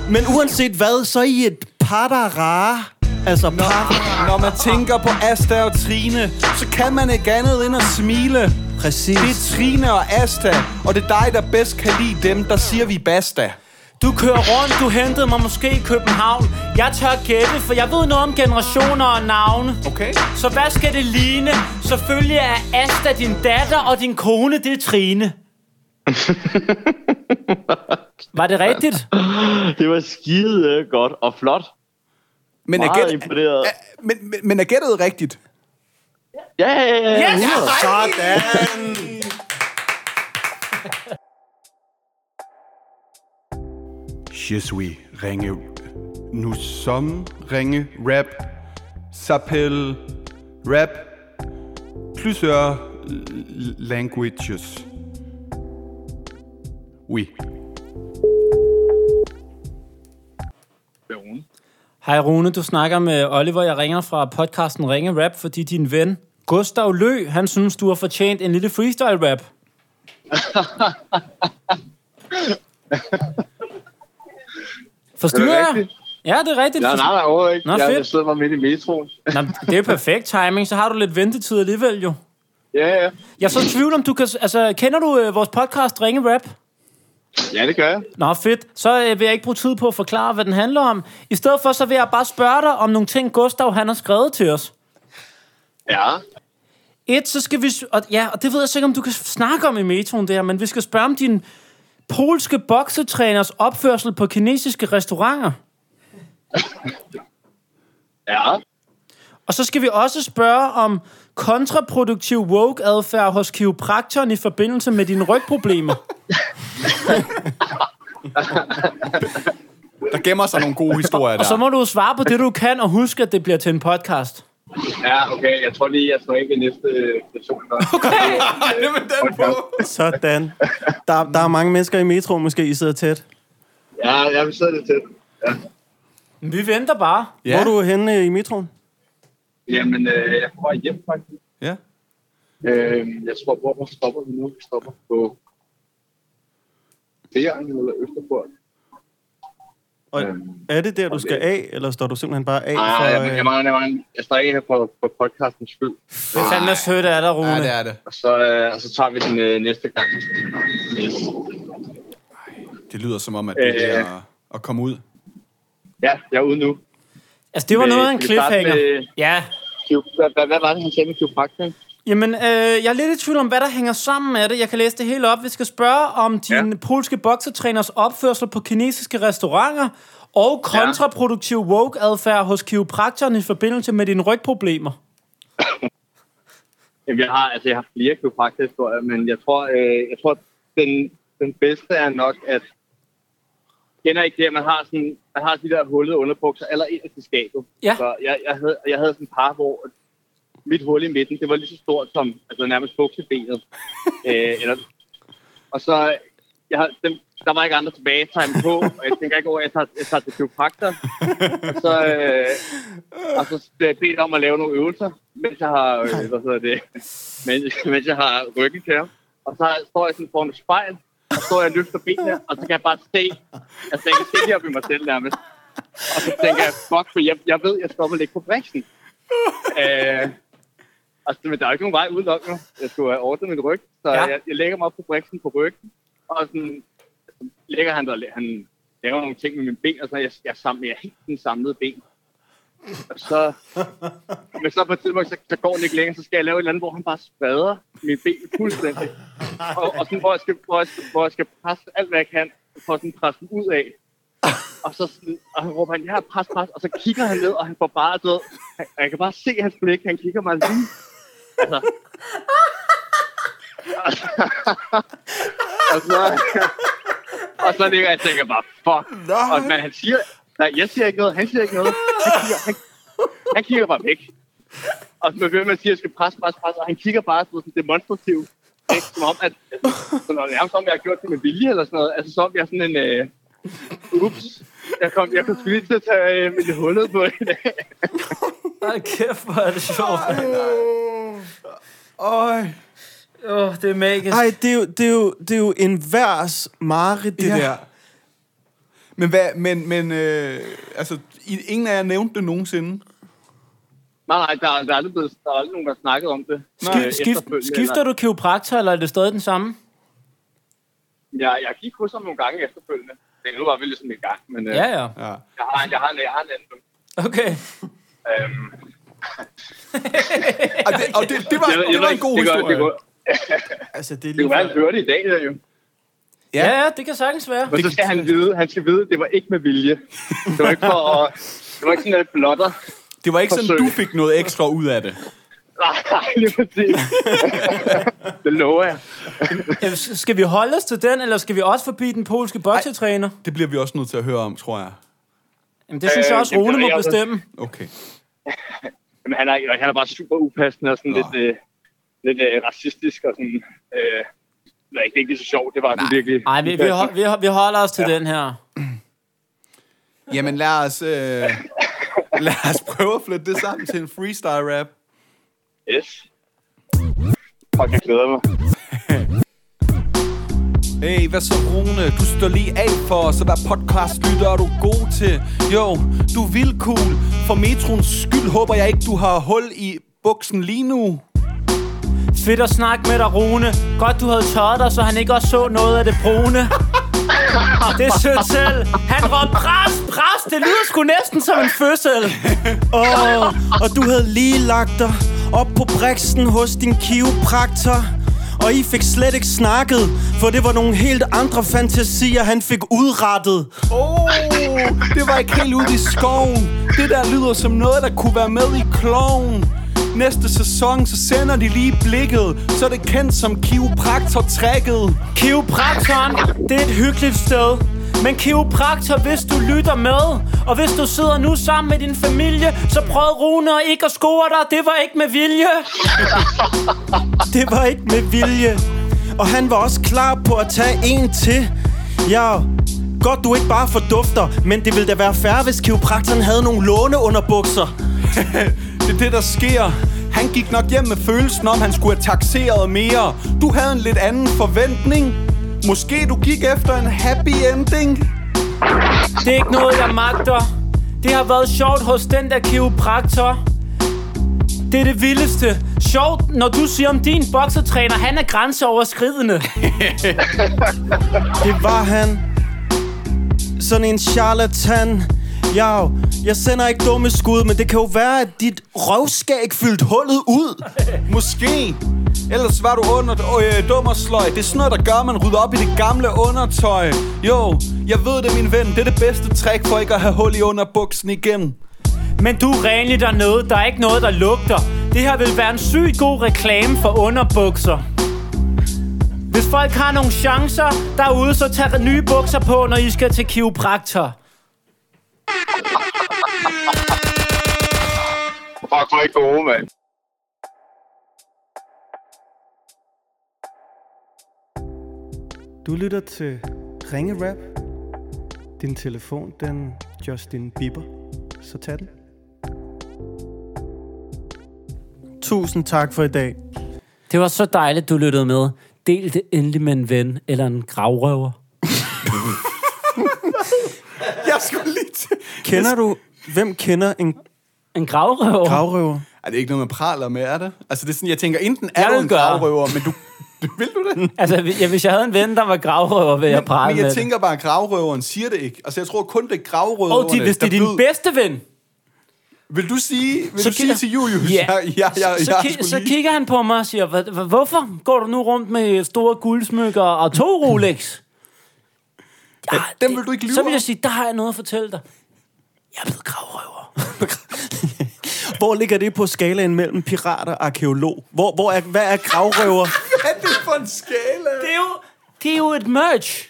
Speaker 3: Men uanset hvad, så er I et par, der er rare. Altså par.
Speaker 2: Når man tænker på Asta og Trine, så kan man ikke andet end at smile. Det
Speaker 3: Præcis.
Speaker 2: er Trine og Asta, og det er dig, der bedst kan lide dem, der siger vi basta.
Speaker 4: Du kører rundt, du hentede mig måske i København. Jeg tør gætte, for jeg ved noget om generationer og navne.
Speaker 2: Okay.
Speaker 4: Så hvad skal det ligne? Selvfølgelig er Asta din datter, og din kone, det er Trine. Var det rigtigt?
Speaker 7: Det var skide godt og flot.
Speaker 2: Men
Speaker 7: Meget
Speaker 2: gæt-
Speaker 7: imponeret.
Speaker 2: er- Men, men, men er gættet rigtigt?
Speaker 7: Ja, ja, ja. ja.
Speaker 4: Yes!
Speaker 3: Sådan.
Speaker 2: Je suis ringe. Nu som ringe rap. S'appelle rap. Plusieurs l- languages. Oui.
Speaker 4: Hej Rune, du snakker med Oliver. Jeg ringer fra podcasten Ringe Rap, fordi din ven Gustav Lø, han synes, du har fortjent en lille freestyle rap. Forstyrrer
Speaker 7: Er det
Speaker 4: jeg? Ja, det er rigtigt.
Speaker 7: Nej, nej, nej, overhovedet ikke.
Speaker 4: Nå,
Speaker 7: Nå, jeg,
Speaker 4: fedt.
Speaker 7: jeg sidder mig midt i metroen.
Speaker 4: Nå, men det er jo perfekt timing, så har du lidt ventetid alligevel jo.
Speaker 7: Ja, ja.
Speaker 4: Jeg er så i tvivl om, du kan... Altså, kender du øh, vores podcast Ringe Rap?
Speaker 7: Ja, det gør jeg.
Speaker 4: Nå, fedt. Så øh, vil jeg ikke bruge tid på at forklare, hvad den handler om. I stedet for, så vil jeg bare spørge dig om nogle ting, Gustav han har skrevet til os.
Speaker 7: Ja.
Speaker 4: Et, så skal vi... s- Og, ja, og det ved jeg så ikke, om du kan snakke om i metroen der, men vi skal spørge om din polske boksetræners opførsel på kinesiske restauranter.
Speaker 7: Ja.
Speaker 4: Og så skal vi også spørge om kontraproduktiv woke-adfærd hos kiropraktoren i forbindelse med dine rygproblemer.
Speaker 2: Der gemmer sig nogle gode historier der.
Speaker 4: Og så må du svare på det, du kan, og huske, at det bliver til en podcast.
Speaker 7: Ja, okay. Jeg tror lige, jeg tror ikke næste station. Okay.
Speaker 2: Ej, men den på.
Speaker 3: Sådan. Der, der er mange mennesker i metro, måske I sidder tæt.
Speaker 7: Ja, jeg vil sidde lidt til.
Speaker 4: Men vi venter bare.
Speaker 3: Ja. Hvor er du henne øh, i metroen?
Speaker 7: Jamen, øh, jeg kommer hjem faktisk.
Speaker 2: Ja.
Speaker 7: Øh, jeg tror, hvor hvor stopper vi nu? Vi stopper på Bæren eller Østerport.
Speaker 3: Og
Speaker 7: Øhm,
Speaker 3: er det der, du skal af, eller står du simpelthen bare af?
Speaker 7: Nej,
Speaker 3: for,
Speaker 7: Ah, jeg, jeg
Speaker 3: øh,
Speaker 7: mangler, jeg mangler. Jeg står ikke her for, for podcastens skyld.
Speaker 4: Det er fandme sødt af dig, Rune.
Speaker 2: Ja, det er det.
Speaker 7: Og så, øh, og så tager vi den øh, næste gang. Yes.
Speaker 2: Det lyder som om, at det er
Speaker 7: Øh.
Speaker 2: at, at komme ud.
Speaker 7: Ja, jeg er ude nu.
Speaker 4: Altså, det var
Speaker 7: Men
Speaker 4: noget af en
Speaker 7: skal vi starte
Speaker 4: cliffhanger.
Speaker 7: med-
Speaker 4: Ja.
Speaker 7: Kio- Hvad, hvad, hvad var det, han sagde med kiropraktoren?
Speaker 4: Jamen, øh, jeg er lidt i tvivl om, hvad der hænger sammen med det. Jeg kan læse det hele op. Vi skal spørge om din ja. polske boksetræners opførsel på kinesiske restauranter og kontraproduktiv woke-adfærd hos kiropraktoren i forbindelse med dine rygproblemer.
Speaker 7: Jamen, jeg har, altså, jeg har flere kiropraktorhistorier, men jeg tror, øh, jeg tror den, den bedste er nok, at kender ikke det, at man har, sådan, man har de der hullede underbukser allerinderst i skabet.
Speaker 4: Ja.
Speaker 7: Så jeg, jeg, havde, jeg havde sådan et par, hvor mit hul i midten, det var lige så stort som altså, nærmest buksebenet. øh, eller, og så, jeg, har- dem, der var ikke andre tilbage at tage dem på, og jeg tænker ikke over, at jeg tager, jeg tager til kiropraktor. Og så, øh, og så bliver jeg bedt om at lave nogle øvelser, mens jeg har, øh, hvad hedder det, mens, mens jeg har ryggen til ham. Og så står jeg sådan foran et spejl, og så står jeg og løfter benene, og så kan jeg bare se, altså jeg kan se det op i mig selv nærmest. Og så tænker jeg, fuck, for jeg, jeg ved, jeg stopper ligge på briksen. Øh, altså, men der er jo ikke nogen vej udenom nu. Jeg skulle have ordnet min ryg, så
Speaker 4: Ja.
Speaker 7: ja. jeg, jeg lægger mig op på briksen på ryggen, og sådan så lægger han der, han laver nogle ting med mine ben, og så er jeg, jeg, sammen, jeg er helt sådan samlet ben. Og så men så på et tidspunkt, så, så går den ikke længere, så skal jeg lave et eller andet, hvor han bare spader mit ben fuldstændig. Og, og sådan, hvor jeg, skal, hvor, jeg skal, hvor jeg skal presse alt, hvad jeg kan, for at sådan presse den ud af. Og så sådan, og han råber han, ja, pres, pres. Og så kigger han ned, og han får bare død. Og jeg kan bare se hans blik, han kigger mig lige. Altså. og så, og så ligger jeg og tænker bare, fuck. Og men han siger, nej, jeg siger ikke noget, han siger ikke noget. Han kigger, han, han kigger bare væk. Og så begynder man at sige, at jeg skal presse, presse, presse, og han kigger bare sådan sådan demonstrativt. Ikke? Som om, at, sådan, noget, nærmest som om jeg har gjort det med vilje eller sådan noget. Altså som om jeg er sådan en, øh, ups, jeg kom, jeg kom sgu lige til at tage øh, mit hullet på i dag.
Speaker 4: Ej, kæft, hvor er det sjovt.
Speaker 2: Øj.
Speaker 4: Åh, oh, det er magisk.
Speaker 3: Ej, det er jo, det er jo, det er jo en værs mareridt, øh, det
Speaker 2: Ja.
Speaker 3: ja. der.
Speaker 2: Men hvad, men, men øh, altså, i- ingen af jer nævnte det nogensinde.
Speaker 7: Nej, nej, der, er- der er aldrig blevet, der er aldrig nogen, der har snakket om det.
Speaker 4: Skif, skif, skifter du kiropraktor, eller er det stadig den samme?
Speaker 7: Ja, jeg gik hos ham nogle gange efterfølgende. Det, nu var vi ligesom i gang, men øh,
Speaker 4: Ja, ja.
Speaker 2: Ja.
Speaker 7: jeg, har, jeg, har, en- jeg har en anden.
Speaker 4: Okay.
Speaker 7: Øhm,
Speaker 2: Og det, og det, det, var,
Speaker 7: jeg ved- jeg
Speaker 2: det var
Speaker 7: ved
Speaker 2: en
Speaker 7: ikke,
Speaker 2: god
Speaker 7: det gør-
Speaker 2: historie.
Speaker 7: Det, gør-
Speaker 3: Altså, det er
Speaker 7: det
Speaker 3: lige...
Speaker 7: kunne være, han hørte det i dag, der jo.
Speaker 4: Ja, ja, det kan sagtens være.
Speaker 7: Men så skal han vide, han skal vide, at det var ikke med vilje. Det var ikke for at, det var ikke sådan, at blotter.
Speaker 2: Det var ikke sådan,
Speaker 7: forsøg.
Speaker 2: du fik noget ekstra ud af det.
Speaker 7: Nej, lige præcis. det lover jeg.
Speaker 4: Ja, Øh, s- Skal vi holde os til den, eller skal vi også forbi den polske boksetræner?
Speaker 2: Det bliver vi også nødt til at høre om, tror jeg.
Speaker 4: Jamen, det synes
Speaker 7: Øh,
Speaker 4: jeg også,
Speaker 7: det
Speaker 4: Rune
Speaker 7: ved
Speaker 4: må
Speaker 7: jeg også.
Speaker 4: bestemme.
Speaker 2: Okay.
Speaker 7: Jamen, han, er, han er bare super upassende og sådan
Speaker 2: Nå.
Speaker 7: lidt, øh, lidt øh, racistisk og sådan... Øh, det er ikke det er ikke lige så sjovt, det var sådan virkelig...
Speaker 4: Nej, vi, vi, hold- vi, hold- vi holder os til ja. den her.
Speaker 2: Jamen lad os, øh, Lad os prøve at flytte det sammen til en freestyle rap.
Speaker 7: Yes. Fuck, jeg glæder mig.
Speaker 2: Hey, hvad så Rune? Du står lige af for os, og hvad podcast lytter er du god til? Jo, du er vildt cool. For metroens skyld håber jeg ikke, du har hul i buksen lige nu.
Speaker 4: Fedt at snakke med dig, Rune. Godt, du havde tørret dig, så han ikke også så noget af det brune. Det er sødt selv. Han råbte pres, pres. Det lyder sgu næsten som en fødsel.
Speaker 3: Åh, og du havde lige lagt dig op på briksen hos din kiropraktor. Og I fik slet ikke snakket, for det var nogle helt andre fantasier, han fik udrettet.
Speaker 2: Åh, oh, det var ikke helt ude i skoven. Det der lyder som noget, der kunne være med i kloven. Næste sæson, så sender de lige blikket, så er det kendt som kiropraktor-trækket.
Speaker 4: Kiropraktoren, det er et hyggeligt sted. Men kiropraktor, hvis du lytter med, og hvis du sidder nu sammen med din familie, så prøv Rune og ikke at score dig. Det var ikke med vilje.
Speaker 3: Det var ikke med vilje. Og han var også klar på at tage en til. Ja, godt du ikke bare fordufter, men det ville da være færre, hvis kiropraktoren havde nogle låneunderbukser.
Speaker 2: Det er det, der sker. Han gik nok hjem med følelsen om, han skulle have taxeret mere. Du havde en lidt anden forventning. Måske du gik efter en happy ending.
Speaker 4: Det er ikke noget, jeg magter. Det har været sjovt hos den der kiropraktor. Det er det vildeste. Sjovt, når du siger om din boksetræner, han er grænseoverskridende.
Speaker 3: Det var han. Sådan en charlatan. Ja, jeg sender ikke dumme skud, men det kan jo være, at dit røvskæg fyldte hullet ud.
Speaker 2: Måske. Ellers var du under øh, dum og sløj. Det er sådan noget, der gør, at man rydder op i det gamle undertøj. Jo, jeg ved det, min ven. Det er det bedste trick for ikke at have hul i underbuksen igen.
Speaker 4: Men du er renlig dernede. Der er ikke noget, der lugter. Det her vil være en sygt god reklame for underbukser. Hvis folk har nogle chancer derude, så tag nye bukser på, når I skal til kiropraktor.
Speaker 7: Fuck, hvor er I gode, mand.
Speaker 3: Du lytter til Ringe Rap. Din telefon, den Justin Bieber. Så tag den. Tusind tak for i dag.
Speaker 4: Det var så dejligt, du lyttede med. Del det endelig med en ven eller en gravrøver.
Speaker 2: Jeg skulle lige til...
Speaker 3: Kender du, hvem kender en
Speaker 4: En gravrøver?
Speaker 3: gravrøver?
Speaker 2: Ej, det er ikke noget, man praler med, er det? Altså, det er sådan, jeg tænker, enten er
Speaker 4: Jeg
Speaker 2: du
Speaker 4: vil
Speaker 2: en
Speaker 4: gøre.
Speaker 2: gravrøver, men du... Vil du det?
Speaker 4: Altså, hvis- ja, hvis jeg havde en ven, der var gravrøver, ville jeg prale
Speaker 2: men
Speaker 4: med
Speaker 2: jeg
Speaker 4: det.
Speaker 2: tænker bare, at gravrøveren siger det ikke. Altså, jeg tror kun, det er gravrøverne,
Speaker 4: Og de, hvis det er
Speaker 2: der
Speaker 4: din
Speaker 2: ved-
Speaker 4: bedste ven,
Speaker 2: Vil du sige, vil
Speaker 4: Så
Speaker 2: du sige
Speaker 4: kigger-
Speaker 2: til Julius,
Speaker 4: Ja.
Speaker 2: jeg, jeg, jeg,
Speaker 4: så,
Speaker 2: jeg
Speaker 4: ki-
Speaker 2: skulle
Speaker 4: så
Speaker 2: lige-
Speaker 4: kigger han på mig og siger, "Hva- hva- hvorfor går du nu rundt med store guldsmykker og to Rolex? Ja,
Speaker 2: dem vil du ikke lyve
Speaker 4: Så vil
Speaker 2: om.
Speaker 4: jeg sige, der har jeg noget at fortælle dig. Jeg er blevet gravrøver.
Speaker 3: Hvor ligger det på skalaen mellem pirat og arkeolog? Hvor, hvor er, hvad er gravrøver?
Speaker 2: Hvad er det for en skala?
Speaker 4: Det er jo, det er jo et merch.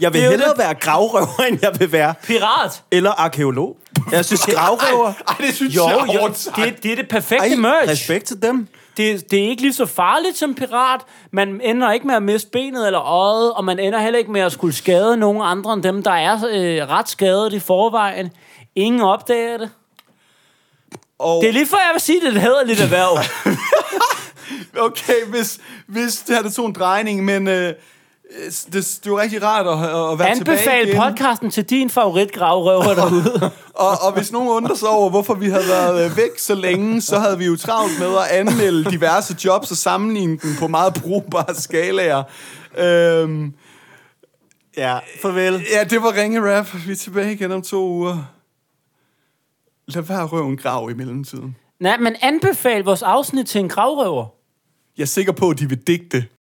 Speaker 3: Jeg vil
Speaker 4: Det er jo
Speaker 3: hellere
Speaker 4: lidt-
Speaker 3: være gravrøver, end jeg vil være
Speaker 4: Pirat.
Speaker 3: eller arkeolog. Jeg synes, gravrøver...
Speaker 2: Ej, det synes
Speaker 4: Jo,
Speaker 2: jeg er
Speaker 4: jo,
Speaker 2: hårdt
Speaker 4: det,
Speaker 2: sagt.
Speaker 4: er- det er det perfekte
Speaker 3: Ej,
Speaker 4: merch.
Speaker 3: respekt til dem.
Speaker 4: det, det er ikke lige så farligt som pirat. Man ender ikke med at miste benet eller øjet, og man ender heller ikke med at skulle skade nogen andre end dem, der er øh, ret skadet i forvejen. Ingen opdager det.
Speaker 2: Og-
Speaker 4: Og... Det er lige før, jeg vil sige, det er et hederligt erhverv.
Speaker 2: Okay, hvis, hvis det her det tog en drejning, men øh, øh, det, det er jo rigtig rart at, at være tilbage
Speaker 4: Anbefal
Speaker 2: igen.
Speaker 4: podcasten til din favoritgravrøver derude.
Speaker 2: Og, og hvis nogen undrer sig over, hvorfor vi havde været øh, væk så længe, så havde vi jo travlt med at anmelde diverse jobs og sammenligne dem på meget brugbare skalaer. Øhm,
Speaker 3: Ja, farvel.
Speaker 2: ja, det var Ringe Rap. Vi er tilbage igen om to uger. Lad være røven grav i mellemtiden.
Speaker 4: Nej, men anbefal vores afsnit til en gravrøver.
Speaker 2: Jeg er sikker på, at de vil digte.